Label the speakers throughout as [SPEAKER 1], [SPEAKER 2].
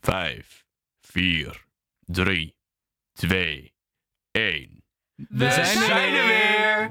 [SPEAKER 1] Vijf, vier, drie, twee, één.
[SPEAKER 2] We zijn, er weer!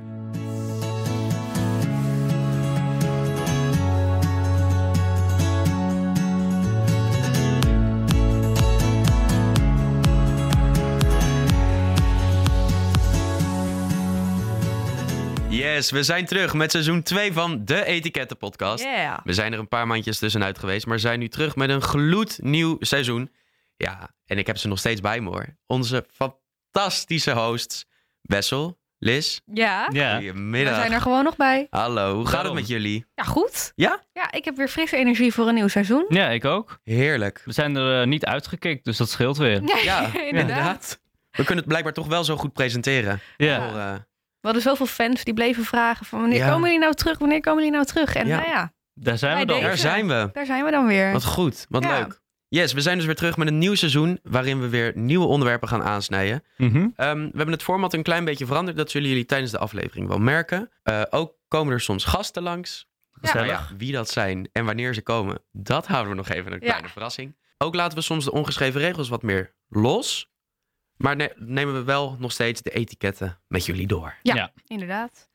[SPEAKER 3] Yes, we zijn terug met seizoen 2 van de Etikettenpodcast.
[SPEAKER 2] Yeah.
[SPEAKER 3] We zijn er een paar maandjes tussenuit geweest, maar zijn nu terug met een gloednieuw seizoen. Ja, en ik heb ze nog steeds bij me hoor. Onze fantastische hosts, Wessel, Liz.
[SPEAKER 2] Ja,
[SPEAKER 4] Ja,
[SPEAKER 2] we
[SPEAKER 3] Goedemiddag.
[SPEAKER 2] zijn er gewoon nog bij.
[SPEAKER 3] Hallo, hoe gaat
[SPEAKER 4] Daarom.
[SPEAKER 3] het met jullie?
[SPEAKER 2] Ja, goed.
[SPEAKER 3] Ja?
[SPEAKER 2] Ja, ik heb weer frisse energie voor een nieuw seizoen.
[SPEAKER 4] ja ik ook.
[SPEAKER 3] Heerlijk.
[SPEAKER 4] We zijn er eh, niet uitgekikt, dus dat scheelt weer.
[SPEAKER 3] Ja,
[SPEAKER 2] inderdaad.
[SPEAKER 3] We kunnen het blijkbaar toch wel zo goed presenteren.
[SPEAKER 4] Ja,
[SPEAKER 3] Voor, eh,
[SPEAKER 2] We hadden zoveel fans die bleven vragen van wanneer
[SPEAKER 3] Ja.
[SPEAKER 2] komen jullie nou terug, wanneer komen jullie nou terug? En
[SPEAKER 3] Ja.
[SPEAKER 2] nou ja,
[SPEAKER 4] daar zijn we
[SPEAKER 2] Bij
[SPEAKER 4] dan.
[SPEAKER 2] deze.
[SPEAKER 3] daar zijn we.
[SPEAKER 2] daar zijn we dan weer.
[SPEAKER 3] Wat goed, wat
[SPEAKER 2] Ja.
[SPEAKER 3] leuk. Yes, we zijn dus weer terug met een nieuw seizoen waarin we weer nieuwe onderwerpen gaan aansnijden.
[SPEAKER 4] Mhm.
[SPEAKER 3] Ehm, we hebben het format een klein beetje veranderd. Dat zullen jullie tijdens de aflevering wel merken. Eh, ook komen er soms gasten langs. Maar
[SPEAKER 4] Gezellig.
[SPEAKER 3] ja, wie dat zijn en wanneer ze komen, dat houden we nog even een
[SPEAKER 2] Ja.
[SPEAKER 3] kleine verrassing. Ook laten we soms de ongeschreven regels wat meer los. Maar ne- nemen we wel nog steeds de etiketten met jullie door.
[SPEAKER 2] Inderdaad.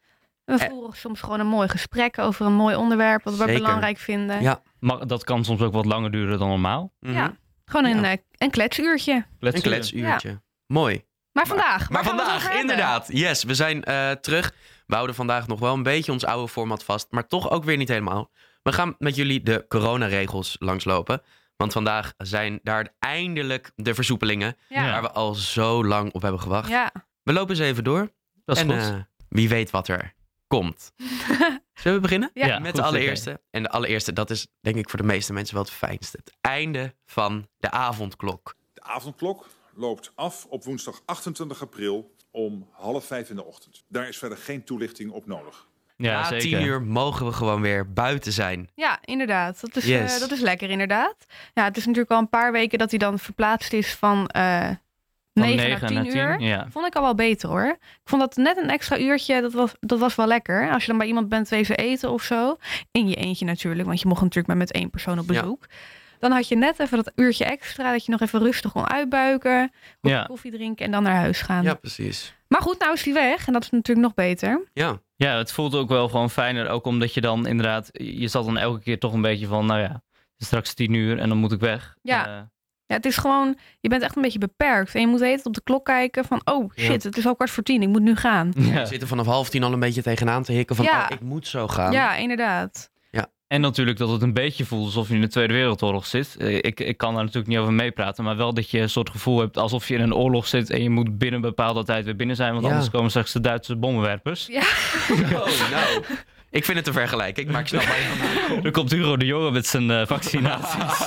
[SPEAKER 2] En We voeren soms gewoon een mooi gesprek over een mooi onderwerp wat we
[SPEAKER 3] Eh. Zeker.
[SPEAKER 2] belangrijk vinden.
[SPEAKER 3] Ja.
[SPEAKER 4] Maar dat kan soms ook wat langer duren dan normaal.
[SPEAKER 3] Mhm.
[SPEAKER 2] Ja. Gewoon een,
[SPEAKER 3] Ja.
[SPEAKER 2] eh, een kletsuurtje.
[SPEAKER 4] Let's
[SPEAKER 3] Een
[SPEAKER 4] see.
[SPEAKER 3] kletsuurtje. Mooi.
[SPEAKER 2] Maar vandaag.
[SPEAKER 3] Maar
[SPEAKER 2] waar gaan we het over
[SPEAKER 3] vandaag,
[SPEAKER 2] hebben?
[SPEAKER 3] inderdaad. Yes, we zijn eh, terug. We houden vandaag nog wel een beetje ons oude format vast, maar toch ook weer niet helemaal. We gaan met jullie de coronaregels langslopen. Want vandaag zijn daar eindelijk de versoepelingen
[SPEAKER 2] Ja.
[SPEAKER 3] waar we al zo lang op hebben gewacht.
[SPEAKER 2] ja.
[SPEAKER 3] We lopen eens even door.
[SPEAKER 4] Dat is
[SPEAKER 3] en
[SPEAKER 4] goed.
[SPEAKER 3] eh, wie weet wat er komt. Zullen we beginnen?
[SPEAKER 2] ja,
[SPEAKER 4] Ja,
[SPEAKER 3] Met
[SPEAKER 4] goed
[SPEAKER 3] de
[SPEAKER 4] idee.
[SPEAKER 3] allereerste. En de allereerste, dat is denk ik voor de meeste mensen wel het fijnste. Het einde van de avondklok.
[SPEAKER 5] De avondklok loopt af op woensdag 28 april om half vijf in de ochtend. Daar is verder geen toelichting op nodig.
[SPEAKER 4] Ja,
[SPEAKER 3] Na
[SPEAKER 4] zeker.
[SPEAKER 3] tien uur mogen we gewoon weer buiten zijn.
[SPEAKER 2] Ja, inderdaad. Dat is, eh,
[SPEAKER 3] Yes.
[SPEAKER 2] dat is lekker, inderdaad. Ja, het is natuurlijk al een paar weken dat hij dan verplaatst is van, eh 9, naar 10 uur.
[SPEAKER 4] Ja.
[SPEAKER 2] Vond ik al wel beter hoor. Ik vond dat net een extra uurtje, dat was, dat was wel lekker. Als je dan bij iemand bent wezen eten of zo. In je eentje natuurlijk, want je mocht natuurlijk maar met één persoon op
[SPEAKER 3] Ja.
[SPEAKER 2] bezoek. Dan had je net even dat uurtje extra, dat je nog even rustig kon uitbuiken. kopje
[SPEAKER 4] Ja.
[SPEAKER 2] Koffie drinken en dan naar huis gaan.
[SPEAKER 3] Ja, precies.
[SPEAKER 2] Maar goed, nou is hij weg en dat is natuurlijk nog beter.
[SPEAKER 3] Ja,
[SPEAKER 4] ja, het voelt ook wel gewoon fijner. Ook omdat je dan inderdaad, je zat dan elke keer toch een beetje van, nou ja, het is straks tien uur en dan moet ik weg.
[SPEAKER 2] Ja.
[SPEAKER 4] Eh,
[SPEAKER 2] Ja, het is gewoon, je bent echt een beetje beperkt. En je moet de hele tijd op de klok kijken van, oh
[SPEAKER 3] Ja.
[SPEAKER 2] shit, het is al kwart voor tien, ik moet nu gaan.
[SPEAKER 3] we
[SPEAKER 4] Eh, ja.
[SPEAKER 3] zitten vanaf half tien al een beetje tegenaan te hikken van
[SPEAKER 2] Ja.
[SPEAKER 3] oh, ik moet zo gaan.
[SPEAKER 2] Ja, inderdaad.
[SPEAKER 4] En natuurlijk dat het een beetje voelt alsof je in de Tweede Wereldoorlog zit. Eh, Ik, ik kan daar natuurlijk niet over meepraten, maar wel dat je een soort gevoel hebt alsof je in een oorlog zit en je moet binnen een bepaalde tijd weer binnen zijn, want
[SPEAKER 3] Ja.
[SPEAKER 4] anders komen straks de Duitse bommenwerpers.
[SPEAKER 3] Oh, nou. Ik vind het te vergelijken. Ik maak snap waar je vandaan komt.
[SPEAKER 4] Dan komt Hugo de Jonge met zijn eh, vaccinaties.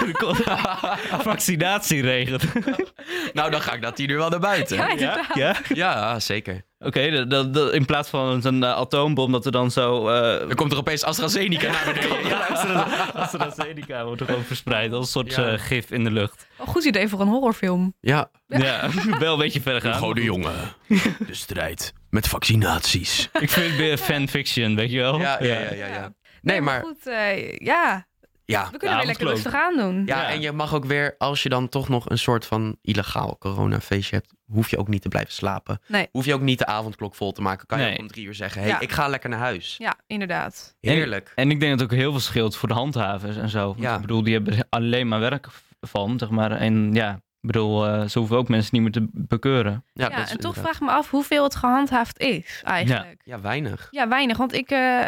[SPEAKER 4] Er komt vaccinatieregen.
[SPEAKER 3] Nou, dan ga ik dat tien uur wel naar buiten.
[SPEAKER 2] Ja,
[SPEAKER 3] Ja,
[SPEAKER 2] inderdaad.
[SPEAKER 4] Ja?
[SPEAKER 3] zeker.
[SPEAKER 4] Oké, dat- dat- dat- in plaats van een eh, atoombom dat er dan zo... eh
[SPEAKER 3] Dan komt er opeens AstraZeneca naar beneden.
[SPEAKER 4] ja, AstraZeneca- AstraZeneca wordt er gewoon verspreid als een soort
[SPEAKER 3] Ja.
[SPEAKER 4] eh, gif in de lucht.
[SPEAKER 2] Een goed idee voor een horrorfilm.
[SPEAKER 3] Ja,
[SPEAKER 4] Ja, wel een beetje verder gaan.
[SPEAKER 1] Hugo de Jonge. De strijd met vaccinaties.
[SPEAKER 4] Ik vind het meer fanfiction, weet je wel?
[SPEAKER 3] ja, ja, ja. ja, ja. Nee, maar
[SPEAKER 2] goed, eh, ja,
[SPEAKER 3] ja.
[SPEAKER 2] we kunnen weer lekker
[SPEAKER 4] avondklok.
[SPEAKER 2] rustig aan doen.
[SPEAKER 3] Ja,
[SPEAKER 4] Ja.
[SPEAKER 3] en je mag ook weer, als je dan toch nog een soort van illegaal coronafeestje hebt, hoef je ook niet te blijven slapen.
[SPEAKER 2] Nee.
[SPEAKER 3] Hoef je ook niet de avondklok vol te maken. Kan je
[SPEAKER 4] Nee.
[SPEAKER 3] ook om drie uur zeggen, hé, hey,
[SPEAKER 2] Ja.
[SPEAKER 3] ik ga lekker naar huis.
[SPEAKER 2] Ja, inderdaad.
[SPEAKER 3] Heerlijk.
[SPEAKER 4] En ik denk dat het ook heel veel scheelt voor de handhavers en zo. Want
[SPEAKER 3] Ja.
[SPEAKER 4] Ik bedoel, die hebben er alleen maar werk van, zeg maar. En ja, ik bedoel, eh, ze hoeven ook mensen niet meer te bekeuren.
[SPEAKER 3] Ja,
[SPEAKER 2] Ja,
[SPEAKER 3] dat is
[SPEAKER 2] en toch
[SPEAKER 3] inderdaad-
[SPEAKER 2] vraag ik me af hoeveel het gehandhaafd is eigenlijk. Ja.
[SPEAKER 3] Ja, weinig.
[SPEAKER 2] weinig. Want ik, eh,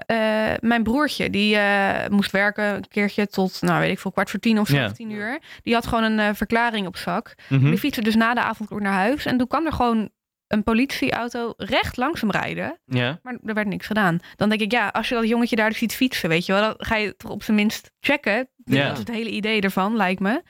[SPEAKER 2] eh, mijn broertje, die eh, moest werken een keertje tot, nou weet ik veel, kwart voor tien of zo,
[SPEAKER 4] Ja.
[SPEAKER 2] of tien uur. Die had gewoon een eh, verklaring op zak.
[SPEAKER 4] Mhm.
[SPEAKER 3] Hm?
[SPEAKER 2] Die fietste dus na de avondklok naar huis. En toen kwam er gewoon een politieauto recht langs hem rijden.
[SPEAKER 4] Ja.
[SPEAKER 2] Maar er werd niks gedaan. Dan denk ik, ja, als je dat jongetje daar dus ziet fietsen, weet je wel, dan ga je toch op zijn minst checken.
[SPEAKER 4] Ja.
[SPEAKER 2] Dat is het hele idee ervan, lijkt me.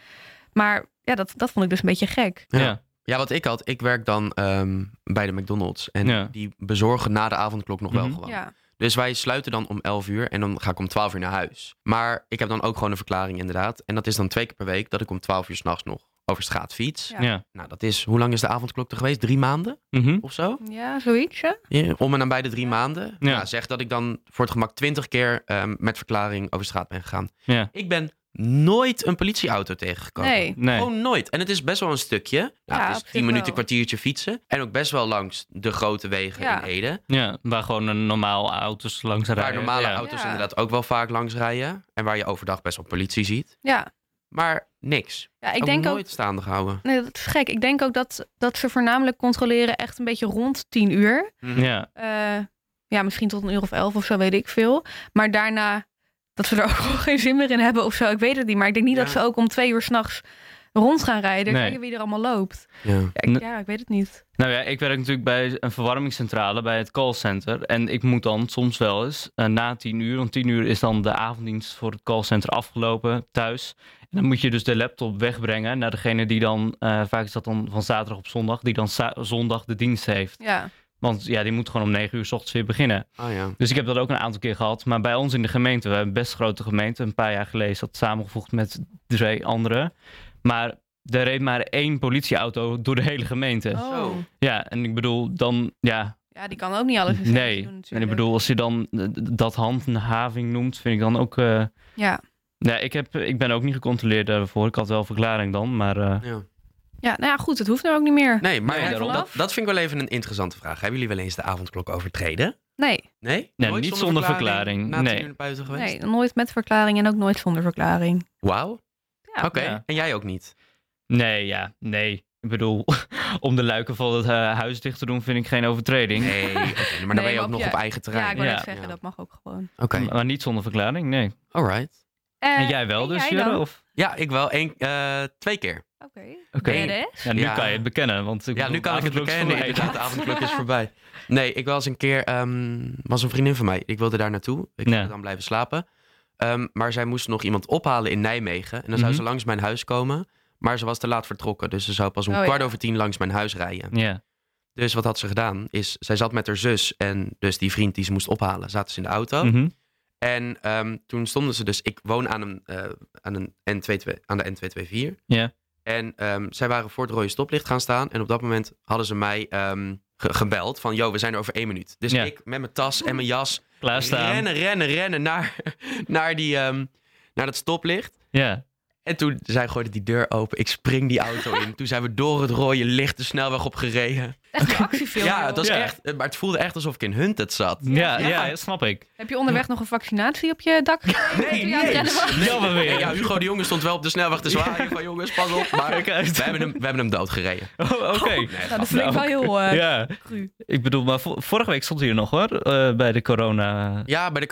[SPEAKER 2] Maar ja, dat, dat vond ik dus een beetje gek.
[SPEAKER 3] Ja.
[SPEAKER 4] Ja. ja.
[SPEAKER 3] Ja, wat ik had, ik werk dan ehm, bij de McDonald's. En
[SPEAKER 4] Ja.
[SPEAKER 3] die bezorgen na de avondklok nog wel
[SPEAKER 4] Mhm.
[SPEAKER 3] gewoon.
[SPEAKER 2] Ja,
[SPEAKER 3] Dus wij sluiten dan om 11 uur en dan ga ik om 12 uur naar huis. Maar ik heb dan ook gewoon een verklaring inderdaad. En dat is dan twee keer per week dat ik om 12 uur s'nachts nog over straat fiets.
[SPEAKER 2] Ja.
[SPEAKER 3] Nou, dat is, hoe lang is de avondklok er geweest? Drie maanden
[SPEAKER 4] Mhm.
[SPEAKER 3] of zo?
[SPEAKER 2] ja zoiets. Ja.
[SPEAKER 3] Ja, om en aan bij de drie maanden. Nou,
[SPEAKER 4] Ja.
[SPEAKER 3] Ja. zeg dat ik dan voor het gemak twintig keer ehm, met verklaring over straat ben gegaan.
[SPEAKER 4] Ja.
[SPEAKER 3] Ik ben nooit een politieauto tegengekomen.
[SPEAKER 2] Nee.
[SPEAKER 4] Nee.
[SPEAKER 3] Gewoon Oh, nooit. En het is best wel een stukje. Nou,
[SPEAKER 2] Ja,
[SPEAKER 3] het
[SPEAKER 2] op
[SPEAKER 3] is
[SPEAKER 2] zich
[SPEAKER 3] tien minuten,
[SPEAKER 2] wel.
[SPEAKER 3] kwartiertje fietsen. En ook best wel langs de grote wegen
[SPEAKER 2] Ja.
[SPEAKER 3] in Ede.
[SPEAKER 4] Ja, waar gewoon een normaal auto's langs rijden.
[SPEAKER 3] Waar normale
[SPEAKER 4] ja.
[SPEAKER 3] auto's
[SPEAKER 2] Ja.
[SPEAKER 3] inderdaad ook wel vaak langs rijden. En waar je overdag best wel politie ziet.
[SPEAKER 2] Ja.
[SPEAKER 3] Maar niks.
[SPEAKER 2] ja, ik
[SPEAKER 3] ook
[SPEAKER 2] denk ook
[SPEAKER 3] nooit staande gehouden.
[SPEAKER 2] Nee, dat is gek. Ik denk ook dat, dat ze voornamelijk controleren echt een beetje rond 10 uur.
[SPEAKER 4] Ja,
[SPEAKER 2] Eh, ja, misschien tot een uur of elf of zo, weet ik veel. Maar daarna dat ze er ook gewoon geen zin meer in hebben of zo. Ik weet het niet. Maar ik denk niet
[SPEAKER 3] Ja.
[SPEAKER 2] dat ze ook om twee uur s'nachts rond gaan rijden.
[SPEAKER 4] Nee.
[SPEAKER 2] Kijken wie er allemaal loopt.
[SPEAKER 3] Ja.
[SPEAKER 2] Ja, ik,
[SPEAKER 4] Nee.
[SPEAKER 2] ja, ik weet het niet.
[SPEAKER 4] Nou ja, ik werk natuurlijk bij een verwarmingscentrale bij het callcenter. En ik moet dan soms wel eens eh, na tien uur, want tien uur is dan de avonddienst voor het callcenter afgelopen thuis. En dan moet je dus de laptop wegbrengen naar degene die dan, eh, vaak is dat dan van zaterdag op zondag, die dan za- zondag de dienst heeft.
[SPEAKER 2] Ja,
[SPEAKER 4] Want ja, die moet gewoon om negen uur 's ochtends weer beginnen.
[SPEAKER 3] Ah ja.
[SPEAKER 4] Dus ik heb dat ook een aantal keer gehad. Maar bij ons in de gemeente, we hebben een best grote gemeente, een paar jaar geleden is dat samengevoegd met drie andere. Maar er reed maar één politieauto door de hele gemeente.
[SPEAKER 3] Zo.
[SPEAKER 4] Ja, en ik bedoel, dan, ja,
[SPEAKER 2] Oh. ja die kan ook niet alles in zijn
[SPEAKER 4] nee.
[SPEAKER 2] eentje doen
[SPEAKER 4] en ik
[SPEAKER 2] natuurlijk.
[SPEAKER 4] bedoel, als je dan eh, d- dat handhaving noemt, vind ik dan ook... eh,
[SPEAKER 2] Ja.
[SPEAKER 4] nee, ik, heb, ik ben ook niet gecontroleerd daarvoor. Ik had wel een verklaring dan, maar... eh,
[SPEAKER 3] Ja.
[SPEAKER 2] ja, nou ja, goed. Het hoeft nou ook niet meer.
[SPEAKER 3] Nee, maar
[SPEAKER 4] Nee, daarom.
[SPEAKER 3] dat, dat vind ik wel even een interessante vraag. Hebben jullie wel eens de avondklok overtreden?
[SPEAKER 2] Nee,
[SPEAKER 3] Nee?
[SPEAKER 4] Nee, niet zonder verklaring.
[SPEAKER 3] Na tien
[SPEAKER 4] Nee.
[SPEAKER 3] uur naar buiten geweest?
[SPEAKER 2] nee, nooit met verklaring en ook nooit zonder verklaring.
[SPEAKER 3] Wauw.
[SPEAKER 2] Ja.
[SPEAKER 3] Oké,
[SPEAKER 4] Ja.
[SPEAKER 3] en jij ook niet?
[SPEAKER 4] nee, ja, nee. Ik bedoel, om de luiken van het eh, huis dicht te doen vind ik geen overtreding.
[SPEAKER 3] Nee, oké, maar dan
[SPEAKER 2] Nee,
[SPEAKER 3] ben je
[SPEAKER 2] maar
[SPEAKER 3] ook
[SPEAKER 2] op
[SPEAKER 3] nog
[SPEAKER 2] je-
[SPEAKER 3] op eigen terrein.
[SPEAKER 2] Ja, ik wil
[SPEAKER 4] Ja.
[SPEAKER 2] net zeggen, dat mag ook gewoon.
[SPEAKER 3] Oké,
[SPEAKER 4] Maar niet zonder verklaring, nee.
[SPEAKER 3] alright.
[SPEAKER 2] Eh,
[SPEAKER 4] en jij wel
[SPEAKER 2] en
[SPEAKER 4] dus,
[SPEAKER 2] jij
[SPEAKER 4] Jurre?
[SPEAKER 2] dan?
[SPEAKER 4] Of...
[SPEAKER 3] Ja, ik wel. Eén, eh, twee keer.
[SPEAKER 2] Oké.
[SPEAKER 4] Oké.
[SPEAKER 2] Badass.
[SPEAKER 4] Ja, nu
[SPEAKER 3] Ja.
[SPEAKER 4] kan je het bekennen, want... ik
[SPEAKER 3] Ja,
[SPEAKER 4] bedoel,
[SPEAKER 3] nu kan ik het
[SPEAKER 4] avondklok is
[SPEAKER 3] bekennen.
[SPEAKER 4] voorbij.
[SPEAKER 3] Inderdaad, de avondklok is voorbij. Nee, ik was een keer, ehm, was een vriendin van mij. Ik wilde daar naartoe. Ik
[SPEAKER 4] Ja.
[SPEAKER 3] wilde dan blijven slapen. Ehm, maar zij moest nog iemand ophalen in Nijmegen. En dan zou
[SPEAKER 4] Mhm.
[SPEAKER 3] ze langs mijn huis komen. Maar ze was te laat vertrokken. Dus ze zou pas om
[SPEAKER 2] Oh, ja.
[SPEAKER 3] kwart over tien langs mijn huis rijden.
[SPEAKER 4] Ja,
[SPEAKER 3] Dus wat had ze gedaan? Is, zij zat met haar zus en dus die vriend die ze moest ophalen. Zaten ze in de auto.
[SPEAKER 4] mhm.
[SPEAKER 3] En ehm, toen stonden ze dus, ik woon aan, een, eh, aan, een N22, aan de N224.
[SPEAKER 4] Ja.
[SPEAKER 3] En ehm, zij waren voor het rode stoplicht gaan staan. En op dat moment hadden ze mij ehm, ge- gebeld van, yo, we zijn er over één minuut. Dus
[SPEAKER 4] Ja.
[SPEAKER 3] ik met mijn tas en mijn jas
[SPEAKER 4] klaarstaan.
[SPEAKER 3] rennen, rennen, rennen naar, naar, die, ehm, naar dat stoplicht.
[SPEAKER 4] Ja,
[SPEAKER 3] En toen, zij gooide die deur open. Ik spring die auto in. Toen zijn we door het rode licht de snelweg op gereden.
[SPEAKER 2] Echt een actiefilm.
[SPEAKER 3] ja,
[SPEAKER 2] joh.
[SPEAKER 3] het was
[SPEAKER 4] Ja.
[SPEAKER 3] echt, eh, maar het voelde echt alsof ik in Hunted zat.
[SPEAKER 4] ja,
[SPEAKER 2] Ja.
[SPEAKER 4] ja, snap ik.
[SPEAKER 2] Heb je onderweg nog een vaccinatie op je dak? gekregen
[SPEAKER 3] Nee,
[SPEAKER 2] toen je
[SPEAKER 3] niet
[SPEAKER 2] aan het rennen
[SPEAKER 3] eens.
[SPEAKER 2] was?
[SPEAKER 3] Nee.
[SPEAKER 4] Jammer weer.
[SPEAKER 3] Nee, ja, Hugo de Jonge stond wel op de snelweg te zwaaien van jongens, pas op. Maar
[SPEAKER 4] Kijk
[SPEAKER 3] we
[SPEAKER 4] uit.
[SPEAKER 3] hebben hem, we hebben hem doodgereden.
[SPEAKER 4] Oh, Oké.
[SPEAKER 2] Nou, dat vind ik wel heel
[SPEAKER 3] Oh.
[SPEAKER 2] eh,
[SPEAKER 4] Ja,
[SPEAKER 2] cru.
[SPEAKER 4] ik bedoel, maar vo- vorige week stond hij er nog hoor, eh, bij de corona.
[SPEAKER 3] Ja, bij de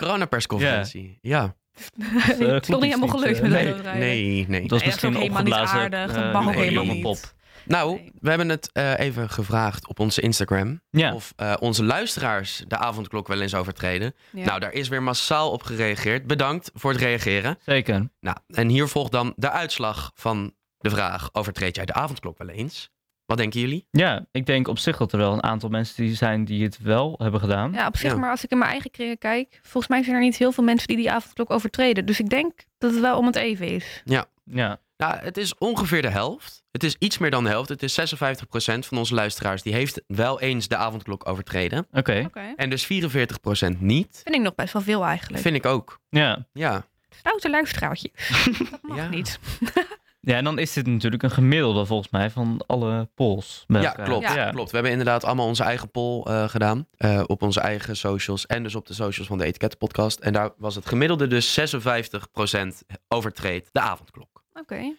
[SPEAKER 3] coronapersconferentie. Ja.
[SPEAKER 4] eh,
[SPEAKER 2] Het is
[SPEAKER 4] klopt
[SPEAKER 2] nog niet
[SPEAKER 4] iets
[SPEAKER 2] helemaal
[SPEAKER 4] niet,
[SPEAKER 2] gelukt
[SPEAKER 4] eh,
[SPEAKER 2] met
[SPEAKER 4] nee.
[SPEAKER 2] de doodrijden.
[SPEAKER 3] Nee, nee.
[SPEAKER 4] Dat was
[SPEAKER 2] Nee, dat is
[SPEAKER 4] misschien
[SPEAKER 2] ook helemaal niet
[SPEAKER 4] opgeblazen.
[SPEAKER 2] aardig,
[SPEAKER 4] eh,
[SPEAKER 2] dat mag
[SPEAKER 3] ook
[SPEAKER 4] nee,
[SPEAKER 3] helemaal
[SPEAKER 4] jonge
[SPEAKER 2] niet.
[SPEAKER 4] pop.
[SPEAKER 3] Nou,
[SPEAKER 2] Nee.
[SPEAKER 3] we hebben het eh, even gevraagd op onze Instagram
[SPEAKER 4] Ja,
[SPEAKER 3] of eh, onze luisteraars de avondklok wel eens overtreden.
[SPEAKER 2] Ja.
[SPEAKER 3] Nou, daar is weer massaal op gereageerd. Bedankt voor het reageren.
[SPEAKER 4] zeker.
[SPEAKER 3] Nou, en hier volgt dan de uitslag van de vraag: overtreed jij de avondklok wel eens? Wat denken jullie?
[SPEAKER 4] Ja, ik denk op zich dat er wel een aantal mensen die zijn die het wel hebben gedaan.
[SPEAKER 2] Ja, op zich,
[SPEAKER 3] Ja.
[SPEAKER 2] maar als ik in mijn eigen kringen kijk, volgens mij zijn er niet heel veel mensen die die avondklok overtreden. Dus ik denk dat het wel om het even is.
[SPEAKER 4] Ja,
[SPEAKER 3] Nou, het is ongeveer de helft. Het is iets meer dan de helft. Het is 56% van onze luisteraars die heeft wel eens de avondklok overtreden.
[SPEAKER 4] oké.
[SPEAKER 2] Oké.
[SPEAKER 3] En dus 44% niet.
[SPEAKER 2] Vind ik nog best wel veel eigenlijk.
[SPEAKER 3] Vind ik ook.
[SPEAKER 4] Ja.
[SPEAKER 3] Ja.
[SPEAKER 2] Stoute luisteraartjes. dat mag
[SPEAKER 3] Ja.
[SPEAKER 2] niet.
[SPEAKER 4] ja, en dan is dit natuurlijk een gemiddelde volgens mij van alle polls. bij
[SPEAKER 3] Ja,
[SPEAKER 4] elkaar.
[SPEAKER 3] klopt,
[SPEAKER 4] eh, Ja.
[SPEAKER 3] klopt. We hebben inderdaad allemaal onze eigen poll eh, gedaan. eh, op onze eigen socials en dus op de socials van de Etikettenpodcast. En daar was het gemiddelde dus 56% overtreedt de avondklok.
[SPEAKER 2] Oké.
[SPEAKER 4] Nou,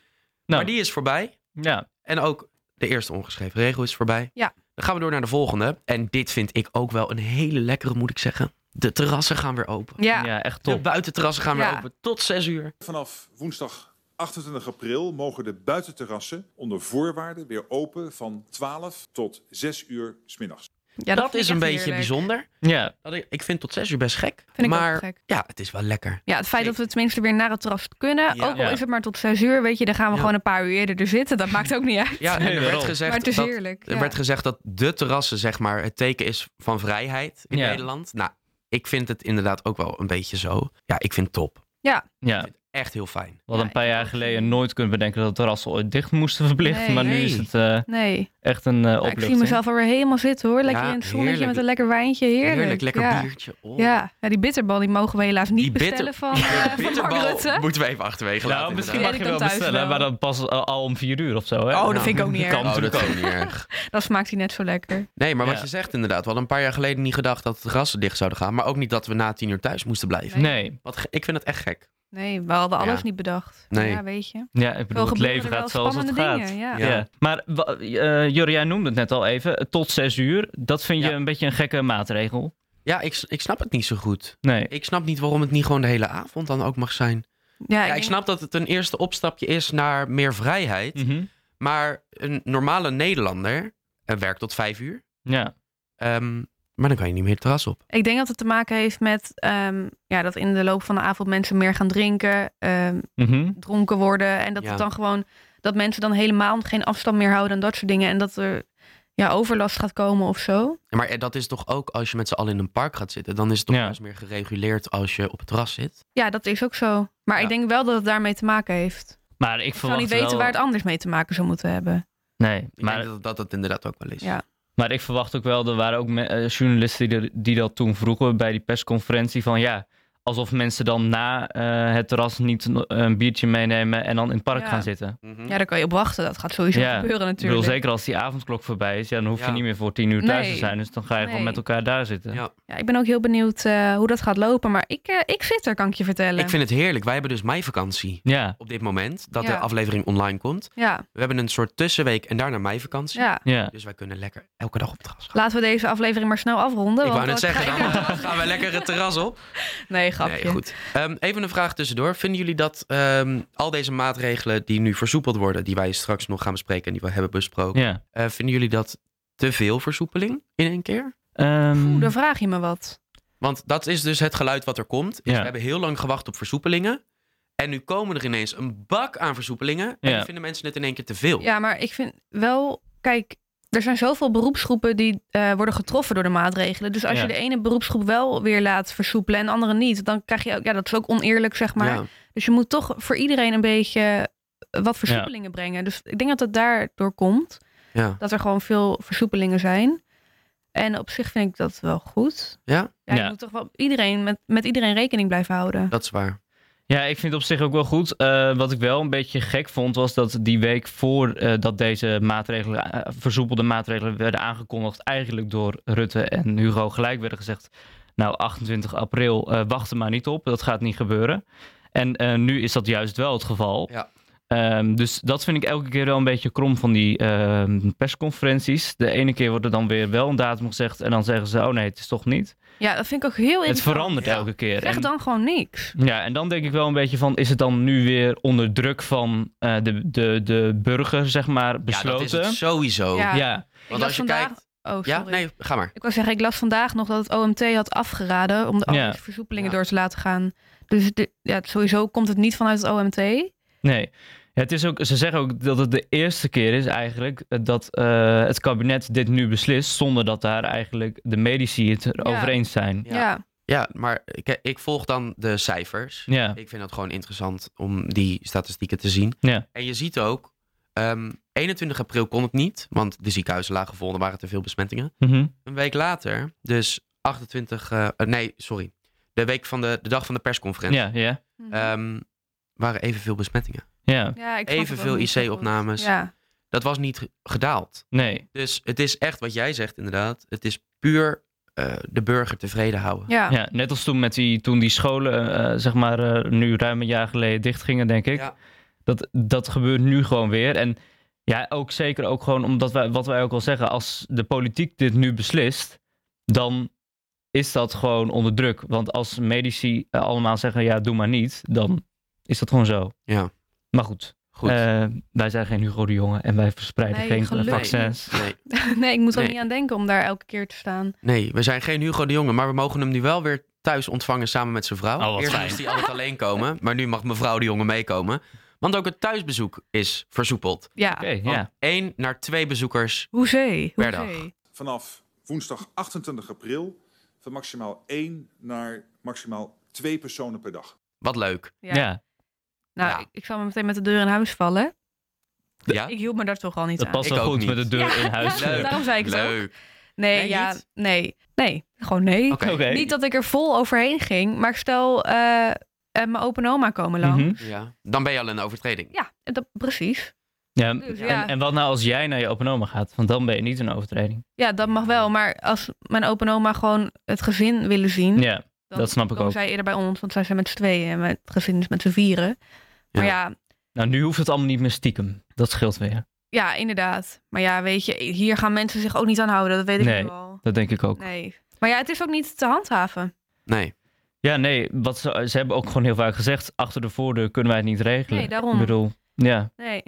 [SPEAKER 3] Maar die is voorbij.
[SPEAKER 4] ja.
[SPEAKER 3] En ook de eerste ongeschreven regel is voorbij.
[SPEAKER 2] Ja.
[SPEAKER 3] Dan gaan we door naar de volgende. En dit vind ik ook wel een hele lekkere, moet ik zeggen. De terrassen gaan weer open.
[SPEAKER 2] Ja.
[SPEAKER 4] Ja. echt
[SPEAKER 3] De
[SPEAKER 4] top.
[SPEAKER 3] buitenterrassen gaan weer
[SPEAKER 2] Ja.
[SPEAKER 3] open tot 6 uur.
[SPEAKER 5] Vanaf woensdag 28 april mogen de buitenterrassen onder voorwaarden weer open van 12 tot 6 uur 's middags.
[SPEAKER 2] Ja,
[SPEAKER 3] dat
[SPEAKER 2] vind ik
[SPEAKER 3] is een
[SPEAKER 2] echt
[SPEAKER 3] beetje
[SPEAKER 2] heerlijk.
[SPEAKER 3] bijzonder.
[SPEAKER 4] Ja,
[SPEAKER 3] Dat ik, ik vind tot 6 uur best gek.
[SPEAKER 2] Vind ik ook
[SPEAKER 3] maar
[SPEAKER 2] gek.
[SPEAKER 3] ja, het is wel lekker.
[SPEAKER 2] Ja, het feit dat we tenminste weer naar het terras kunnen.
[SPEAKER 3] Ja.
[SPEAKER 2] Ook al
[SPEAKER 4] Ja.
[SPEAKER 2] is het maar tot zes uur, weet je, dan gaan we
[SPEAKER 3] Ja.
[SPEAKER 2] gewoon een paar uur eerder er zitten. Dat maakt ook niet uit.
[SPEAKER 3] Ja, en
[SPEAKER 4] Nee,
[SPEAKER 3] er werd
[SPEAKER 4] daarom.
[SPEAKER 3] gezegd
[SPEAKER 2] maar het is
[SPEAKER 3] dat,
[SPEAKER 2] heerlijk.
[SPEAKER 3] er
[SPEAKER 2] ja.
[SPEAKER 3] werd gezegd dat de terrassen zeg maar het teken is van vrijheid in
[SPEAKER 4] Ja.
[SPEAKER 3] Nederland. Nou, ik vind het inderdaad ook wel een beetje zo. Ja, ik vind het top.
[SPEAKER 4] ja.
[SPEAKER 3] echt heel fijn.
[SPEAKER 4] We hadden
[SPEAKER 2] Ja,
[SPEAKER 4] een paar
[SPEAKER 2] ik
[SPEAKER 4] jaar
[SPEAKER 2] ook.
[SPEAKER 4] geleden nooit kunnen bedenken dat terrassen ooit dicht moesten verplicht.
[SPEAKER 2] Nee.
[SPEAKER 4] maar nu
[SPEAKER 3] Nee.
[SPEAKER 4] is het eh,
[SPEAKER 2] Nee,
[SPEAKER 4] echt een eh
[SPEAKER 2] Nou, ik
[SPEAKER 4] opluchting.
[SPEAKER 2] zie mezelf alweer helemaal zitten hoor. Lekker
[SPEAKER 3] Ja,
[SPEAKER 2] in het zonnetje
[SPEAKER 3] heerlijk.
[SPEAKER 2] met een lekker wijntje. Heerlijk.
[SPEAKER 3] lekker
[SPEAKER 2] ja.
[SPEAKER 3] biertje. Oh.
[SPEAKER 2] Ja. ja, die bitterbal die mogen we helaas niet
[SPEAKER 3] Die bitter-
[SPEAKER 2] bestellen van, eh van Mark
[SPEAKER 3] bitterbal
[SPEAKER 2] Rutte.
[SPEAKER 3] moeten we even achterwege laten.
[SPEAKER 4] Nou, misschien
[SPEAKER 2] inderdaad.
[SPEAKER 4] mag je wel
[SPEAKER 2] Weet ik dan thuis
[SPEAKER 4] bestellen,
[SPEAKER 2] wel.
[SPEAKER 4] maar dan pas eh, al om vier uur of zo. Hè?
[SPEAKER 3] Oh,
[SPEAKER 4] Nou,
[SPEAKER 3] dat
[SPEAKER 2] vind ik ook niet
[SPEAKER 4] kan
[SPEAKER 2] erg.
[SPEAKER 3] inderdaad. Oh,
[SPEAKER 4] natuurlijk
[SPEAKER 3] dat
[SPEAKER 4] ook.
[SPEAKER 3] is niet erg.
[SPEAKER 2] Dan smaakt hij net zo lekker.
[SPEAKER 3] Nee, maar wat
[SPEAKER 4] Ja.
[SPEAKER 3] je zegt inderdaad. We hadden een paar jaar geleden niet gedacht dat de terrassen dicht zouden gaan. Maar ook niet dat we na tien uur thuis moesten blijven.
[SPEAKER 4] Nee,
[SPEAKER 3] Wat ge- ik vind het echt gek.
[SPEAKER 2] Nee, we hadden alles
[SPEAKER 3] Ja.
[SPEAKER 2] niet bedacht.
[SPEAKER 3] Nee.
[SPEAKER 2] Ja, weet je.
[SPEAKER 4] ja, ik bedoel, het
[SPEAKER 2] gebeuren
[SPEAKER 4] leven
[SPEAKER 2] er
[SPEAKER 4] gaat
[SPEAKER 2] wel
[SPEAKER 4] zoals het
[SPEAKER 2] spannende
[SPEAKER 4] gaat.
[SPEAKER 2] dingen, ja.
[SPEAKER 4] Ja. Maar wa- eh Jorre, jij noemde het net al even. Tot zes uur, dat vind je
[SPEAKER 3] Ja.
[SPEAKER 4] een beetje een gekke maatregel.
[SPEAKER 3] Ja, ik, s- ik snap het niet zo goed.
[SPEAKER 4] Nee.
[SPEAKER 3] Ik snap niet waarom het niet gewoon de hele avond dan ook mag zijn.
[SPEAKER 2] Ja,
[SPEAKER 3] Ja, ik
[SPEAKER 2] denk-
[SPEAKER 3] snap dat het een eerste opstapje is naar meer vrijheid.
[SPEAKER 4] Mhm.
[SPEAKER 3] Maar een normale Nederlander eh, werkt tot vijf uur.
[SPEAKER 4] Ja.
[SPEAKER 3] Ehm, maar dan kan je niet meer het terras op.
[SPEAKER 2] Ik denk dat het te maken heeft met ehm, ja, dat in de loop van de avond mensen meer gaan drinken, ehm,
[SPEAKER 4] Mhm.
[SPEAKER 2] dronken worden. En dat
[SPEAKER 3] Ja.
[SPEAKER 2] het dan gewoon dat mensen dan helemaal geen afstand meer houden en dat soort dingen. En dat er ja, overlast gaat komen of zo.
[SPEAKER 3] Ja, Maar eh, dat is toch ook als je met z'n allen in een park gaat zitten. Dan is het toch
[SPEAKER 4] Ja.
[SPEAKER 3] juist meer gereguleerd als je op het terras zit.
[SPEAKER 2] Ja, dat is ook zo. Maar
[SPEAKER 3] Ja.
[SPEAKER 2] ik denk wel dat het daarmee te maken heeft.
[SPEAKER 4] Maar ik
[SPEAKER 2] Ik zou
[SPEAKER 4] verwacht
[SPEAKER 2] niet weten
[SPEAKER 4] wel...
[SPEAKER 2] waar het anders mee te maken zou moeten hebben.
[SPEAKER 4] Nee,
[SPEAKER 3] Ik
[SPEAKER 4] maar,
[SPEAKER 3] denk dat, dat dat inderdaad ook wel is.
[SPEAKER 2] Ja.
[SPEAKER 4] maar ik verwacht ook wel... Er waren ook me- eh, journalisten die, die dat toen vroegen bij die persconferentie van... ja, alsof mensen dan na eh, het terras niet no- een biertje meenemen en dan in het park
[SPEAKER 2] Ja.
[SPEAKER 4] gaan zitten.
[SPEAKER 3] Mhm.
[SPEAKER 2] Ja, daar kan je op wachten. Dat gaat sowieso
[SPEAKER 4] Ja,
[SPEAKER 2] gebeuren
[SPEAKER 4] Ik bedoel,
[SPEAKER 2] natuurlijk.
[SPEAKER 4] zeker als die avondklok voorbij is, ja, dan hoef je
[SPEAKER 3] Ja.
[SPEAKER 4] niet meer voor tien uur thuis
[SPEAKER 2] Nee.
[SPEAKER 4] te zijn. Dus dan ga je gewoon
[SPEAKER 2] Nee.
[SPEAKER 4] met elkaar daar zitten.
[SPEAKER 3] Ja.
[SPEAKER 2] Ja, ik ben ook heel benieuwd eh, hoe dat gaat lopen. Maar ik, eh, ik zit er, kan ik je vertellen.
[SPEAKER 3] Ik vind het heerlijk. Wij hebben dus meivakantie
[SPEAKER 4] Ja,
[SPEAKER 3] op dit moment. Dat
[SPEAKER 2] Ja.
[SPEAKER 3] de aflevering online komt.
[SPEAKER 2] Ja,
[SPEAKER 3] We hebben een soort tussenweek en daarna meivakantie.
[SPEAKER 2] ja.
[SPEAKER 4] ja.
[SPEAKER 3] Dus wij kunnen lekker elke dag op het terras gaan.
[SPEAKER 2] Laten we deze aflevering maar snel afronden.
[SPEAKER 3] Ik
[SPEAKER 2] want
[SPEAKER 3] wou net
[SPEAKER 2] dan
[SPEAKER 3] zeggen, dan
[SPEAKER 2] ga ik er-
[SPEAKER 3] eh, gaan we lekker het terras op.
[SPEAKER 2] Nee, grapje.
[SPEAKER 3] Nee, goed. Ehm, even een vraag tussendoor. Vinden jullie dat ehm, al deze maatregelen die nu versoepeld worden, die wij straks nog gaan bespreken en die we hebben besproken,
[SPEAKER 4] ja.
[SPEAKER 3] eh, vinden jullie dat te veel versoepeling in één keer?
[SPEAKER 4] Ehm,
[SPEAKER 2] Oeh, dan vraag je me wat.
[SPEAKER 3] Want dat is dus het geluid wat er komt. Is
[SPEAKER 4] Ja.
[SPEAKER 3] We hebben heel lang gewacht op versoepelingen. En nu komen er ineens een bak aan versoepelingen. En
[SPEAKER 4] Ja.
[SPEAKER 3] dan vinden mensen het in één keer te veel.
[SPEAKER 2] Ja, maar ik vind wel... Kijk, er zijn zoveel beroepsgroepen die eh, worden getroffen door de maatregelen. Dus als
[SPEAKER 4] Ja.
[SPEAKER 2] je de ene beroepsgroep wel weer laat versoepelen en de andere niet... dan krijg je ook... Ja, dat is ook oneerlijk, zeg maar.
[SPEAKER 3] Ja.
[SPEAKER 2] Dus je moet toch voor iedereen een beetje eh, wat versoepelingen brengen. Dus ik denk dat het daardoor komt.
[SPEAKER 3] Ja.
[SPEAKER 2] Dat er gewoon veel versoepelingen zijn. En op zich vind ik dat wel goed.
[SPEAKER 3] Ja?
[SPEAKER 2] Ja, je
[SPEAKER 4] Ja.
[SPEAKER 2] moet toch wel iedereen, met, met iedereen rekening blijven houden.
[SPEAKER 3] dat is waar.
[SPEAKER 4] Ja, ik vind het op zich ook wel goed. Eh, wat ik wel een beetje gek vond, was dat die week voordat dat deze maatregelen, eh, versoepelde maatregelen werden aangekondigd, eigenlijk door Rutte en Hugo gelijk werden gezegd. Nou, 28 april, eh wacht er maar niet op, dat gaat niet gebeuren. En eh, nu is dat juist wel het geval.
[SPEAKER 3] Ja.
[SPEAKER 4] Ehm, dus dat vind ik elke keer wel een beetje krom van die ehm, persconferenties. De ene keer wordt er dan weer wel een datum gezegd en dan zeggen ze, oh nee, het is toch niet.
[SPEAKER 2] Ja, dat vind ik ook heel
[SPEAKER 4] Het
[SPEAKER 2] interessant.
[SPEAKER 4] verandert
[SPEAKER 3] Ja.
[SPEAKER 4] elke keer.
[SPEAKER 2] Zeg
[SPEAKER 4] En-
[SPEAKER 2] dan gewoon niks.
[SPEAKER 4] ja, en dan denk ik wel een beetje van, is het dan nu weer onder druk van eh, de, de, de burger, zeg maar,
[SPEAKER 3] Ja, dat
[SPEAKER 4] besloten?
[SPEAKER 3] is het sowieso.
[SPEAKER 2] Ja.
[SPEAKER 4] Ja,
[SPEAKER 2] Ik
[SPEAKER 3] Want
[SPEAKER 2] las
[SPEAKER 3] als je
[SPEAKER 2] vandaag...
[SPEAKER 3] kijkt...
[SPEAKER 2] Oh, sorry.
[SPEAKER 3] Ja, nee, ga maar.
[SPEAKER 2] Ik wil zeggen, ik las vandaag nog dat het OMT had afgeraden om de
[SPEAKER 4] Ja.
[SPEAKER 2] andere versoepelingen
[SPEAKER 3] Ja.
[SPEAKER 2] door te laten gaan. Dus de- ja, sowieso komt het niet vanuit het OMT.
[SPEAKER 4] nee. Ja, het is ook, ze zeggen ook dat het de eerste keer is eigenlijk eh, dat eh, het kabinet dit nu beslist, zonder dat daar eigenlijk de medici het over eens zijn.
[SPEAKER 3] Ja.
[SPEAKER 2] Ja,
[SPEAKER 3] Ja, maar ik, ik volg dan de cijfers.
[SPEAKER 4] Ja,
[SPEAKER 3] Ik vind dat gewoon interessant om die statistieken te zien.
[SPEAKER 4] Ja.
[SPEAKER 3] En je ziet ook, ehm, 21 april kon het niet, want de ziekenhuizen lagen vol, er waren te veel besmettingen.
[SPEAKER 4] Mhm.
[SPEAKER 3] Een week later, dus 28, eh, eh, nee, sorry, de week van de, de dag van de persconferentie,
[SPEAKER 4] ja, ja.
[SPEAKER 2] Mhm.
[SPEAKER 3] ehm, waren evenveel besmettingen.
[SPEAKER 4] ja.
[SPEAKER 2] ja ik snap het ook
[SPEAKER 3] Evenveel
[SPEAKER 2] niet zo goed.
[SPEAKER 3] IC-opnames.
[SPEAKER 2] Ja.
[SPEAKER 3] Dat was niet ge- gedaald.
[SPEAKER 4] Nee,
[SPEAKER 3] Dus het is echt wat jij zegt inderdaad, het is puur eh, de burger tevreden houden.
[SPEAKER 2] Ja.
[SPEAKER 4] ja, net als toen, met die, toen die scholen, eh, zeg maar, eh, nu ruim een jaar geleden dichtgingen, denk ik.
[SPEAKER 3] Ja.
[SPEAKER 4] Dat, dat gebeurt nu gewoon weer. En ja, ook zeker ook gewoon omdat wij, wat wij ook al zeggen, als de politiek dit nu beslist, dan is dat gewoon onder druk. Want als medici eh, allemaal zeggen, ja, doe maar niet, dan is dat gewoon zo.
[SPEAKER 3] Ja.
[SPEAKER 4] Maar goed,
[SPEAKER 3] Goed.
[SPEAKER 4] eh, wij zijn geen Hugo de Jonge en wij verspreiden
[SPEAKER 2] Nee,
[SPEAKER 4] geen
[SPEAKER 2] gelukkig
[SPEAKER 4] vaccins.
[SPEAKER 3] Nee,
[SPEAKER 2] nee, ik moet er
[SPEAKER 3] Nee.
[SPEAKER 2] niet aan denken om daar elke keer te staan.
[SPEAKER 3] nee, we zijn geen Hugo de Jonge, maar we mogen hem nu wel weer thuis ontvangen samen met zijn vrouw.
[SPEAKER 4] Oh, wat
[SPEAKER 3] Eerst
[SPEAKER 4] fijn.
[SPEAKER 3] moest hij altijd alleen komen, maar nu mag mevrouw de Jonge meekomen. Want ook het thuisbezoek is versoepeld.
[SPEAKER 2] Ja,
[SPEAKER 4] Oké,
[SPEAKER 3] Van
[SPEAKER 4] ja.
[SPEAKER 3] één naar twee bezoekers.
[SPEAKER 2] hoezee.
[SPEAKER 3] Per dag.
[SPEAKER 2] hoezee.
[SPEAKER 5] Vanaf woensdag 28 april van maximaal 1 naar maximaal 2 personen per dag.
[SPEAKER 3] Wat leuk.
[SPEAKER 4] Ja.
[SPEAKER 2] Nou,
[SPEAKER 3] Ja.
[SPEAKER 2] ik, ik zou me meteen met de deur in huis vallen.
[SPEAKER 3] Ja?
[SPEAKER 2] Ik hield me daar toch al niet
[SPEAKER 4] Dat
[SPEAKER 2] aan.
[SPEAKER 4] past
[SPEAKER 3] Ik
[SPEAKER 4] wel
[SPEAKER 3] ook
[SPEAKER 4] goed
[SPEAKER 3] niet.
[SPEAKER 4] met de deur
[SPEAKER 2] Ja,
[SPEAKER 4] in huis.
[SPEAKER 2] ja,
[SPEAKER 3] Leuk.
[SPEAKER 2] daarom zei ik het ook.
[SPEAKER 3] Leuk.
[SPEAKER 2] Nee,
[SPEAKER 3] Nee,
[SPEAKER 2] ja,
[SPEAKER 3] niet?
[SPEAKER 2] nee. Nee, gewoon nee.
[SPEAKER 3] Oké.
[SPEAKER 4] Oké.
[SPEAKER 2] Niet dat ik er vol overheen ging, maar stel eh, eh, mijn open oma komen lang.
[SPEAKER 4] Mhm.
[SPEAKER 3] Ja. Dan ben je al een overtreding.
[SPEAKER 2] Ja, dat, precies.
[SPEAKER 4] Ja,
[SPEAKER 2] Dus ja.
[SPEAKER 4] En, en wat nou als jij naar je open oma gaat? Want dan ben je niet een overtreding.
[SPEAKER 2] Ja, dat mag wel. Maar als mijn open oma gewoon het gezin willen zien,
[SPEAKER 4] Ja,
[SPEAKER 2] dan
[SPEAKER 4] dat snap ik
[SPEAKER 2] komen
[SPEAKER 4] ook.
[SPEAKER 2] zij eerder bij ons, want zij zijn met z'n tweeën en mijn- het gezin is met z'n vieren. Maar ja,
[SPEAKER 4] nou nu hoeft het allemaal niet meer stiekem. Dat scheelt weer.
[SPEAKER 2] Ja, inderdaad. Maar ja, weet je, hier gaan mensen zich ook niet aan houden. Dat weet ik
[SPEAKER 4] Nee.
[SPEAKER 2] nu al.
[SPEAKER 4] Dat denk ik ook.
[SPEAKER 2] Nee. Maar ja, het is ook niet te handhaven.
[SPEAKER 3] Nee.
[SPEAKER 4] Ja, nee, wat ze, ze hebben ook gewoon heel vaak gezegd, achter de voordeur kunnen wij het niet regelen.
[SPEAKER 2] Nee, daarom.
[SPEAKER 4] Ik bedoel, ja.
[SPEAKER 2] Nee.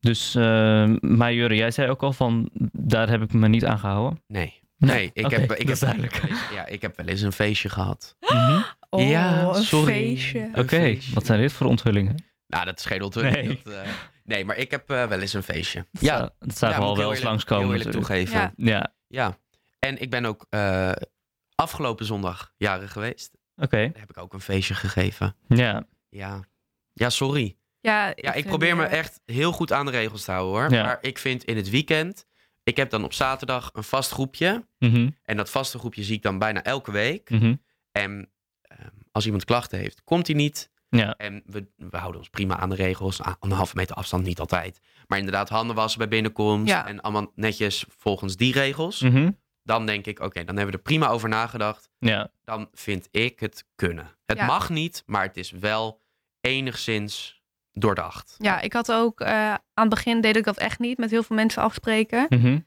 [SPEAKER 4] Dus, eh maar Jure, jij zei ook al van, daar heb ik me niet aan gehouden.
[SPEAKER 3] Nee. Nee, ik
[SPEAKER 4] Oké,
[SPEAKER 3] heb,
[SPEAKER 4] dat
[SPEAKER 3] ik,
[SPEAKER 4] is
[SPEAKER 3] heb,
[SPEAKER 4] duidelijk.
[SPEAKER 3] ja, ik heb wel eens een feestje gehad.
[SPEAKER 4] Mhm.
[SPEAKER 2] Oh,
[SPEAKER 3] ja,
[SPEAKER 2] een
[SPEAKER 3] sorry.
[SPEAKER 2] feestje.
[SPEAKER 3] Een
[SPEAKER 4] Oké,
[SPEAKER 3] feestje.
[SPEAKER 4] wat zijn dit voor onthullingen?
[SPEAKER 3] Nou, dat schedelt we.
[SPEAKER 4] Nee.
[SPEAKER 3] Nee. nee, maar ik heb eh, wel eens een feestje.
[SPEAKER 4] Dat zou- dat zagen we al wel
[SPEAKER 3] moet ik heel
[SPEAKER 4] eens
[SPEAKER 3] eerlijk-
[SPEAKER 4] langskomen.
[SPEAKER 3] Heel eerlijk
[SPEAKER 4] natuurlijk.
[SPEAKER 3] toegeven.
[SPEAKER 2] Ja.
[SPEAKER 3] Ja.
[SPEAKER 4] Ja,
[SPEAKER 3] En ik ben ook eh, afgelopen zondag jaren geweest.
[SPEAKER 4] oké.
[SPEAKER 3] Daar heb ik ook een feestje gegeven.
[SPEAKER 4] Ja,
[SPEAKER 3] Ja. Ja, sorry.
[SPEAKER 2] Ja,
[SPEAKER 3] Ja, ik
[SPEAKER 2] vind,
[SPEAKER 3] probeer me
[SPEAKER 2] eh,
[SPEAKER 3] echt heel goed aan de regels te houden hoor.
[SPEAKER 4] Ja.
[SPEAKER 3] Maar ik vind in het weekend, ik heb dan op zaterdag een vast groepje.
[SPEAKER 4] Mhm,
[SPEAKER 3] En dat vaste groepje zie ik dan bijna elke week.
[SPEAKER 4] mhm.
[SPEAKER 3] En ehm, als iemand klachten heeft, komt hij niet.
[SPEAKER 4] ja.
[SPEAKER 3] En we, we houden ons prima aan de regels. Ah, Anderhalve meter afstand niet altijd. Maar inderdaad, handen wassen bij binnenkomst.
[SPEAKER 2] Ja.
[SPEAKER 3] En allemaal netjes volgens die regels.
[SPEAKER 4] Mhm.
[SPEAKER 3] Dan denk ik, oké, dan hebben we er prima over nagedacht.
[SPEAKER 4] ja,
[SPEAKER 3] Dan vind ik het kunnen. Het
[SPEAKER 2] Ja.
[SPEAKER 3] mag niet, maar het is wel enigszins doordacht.
[SPEAKER 2] Ja, ik had ook... eh, aan het begin deed ik dat echt niet. Met heel veel mensen afspreken.
[SPEAKER 4] mhm.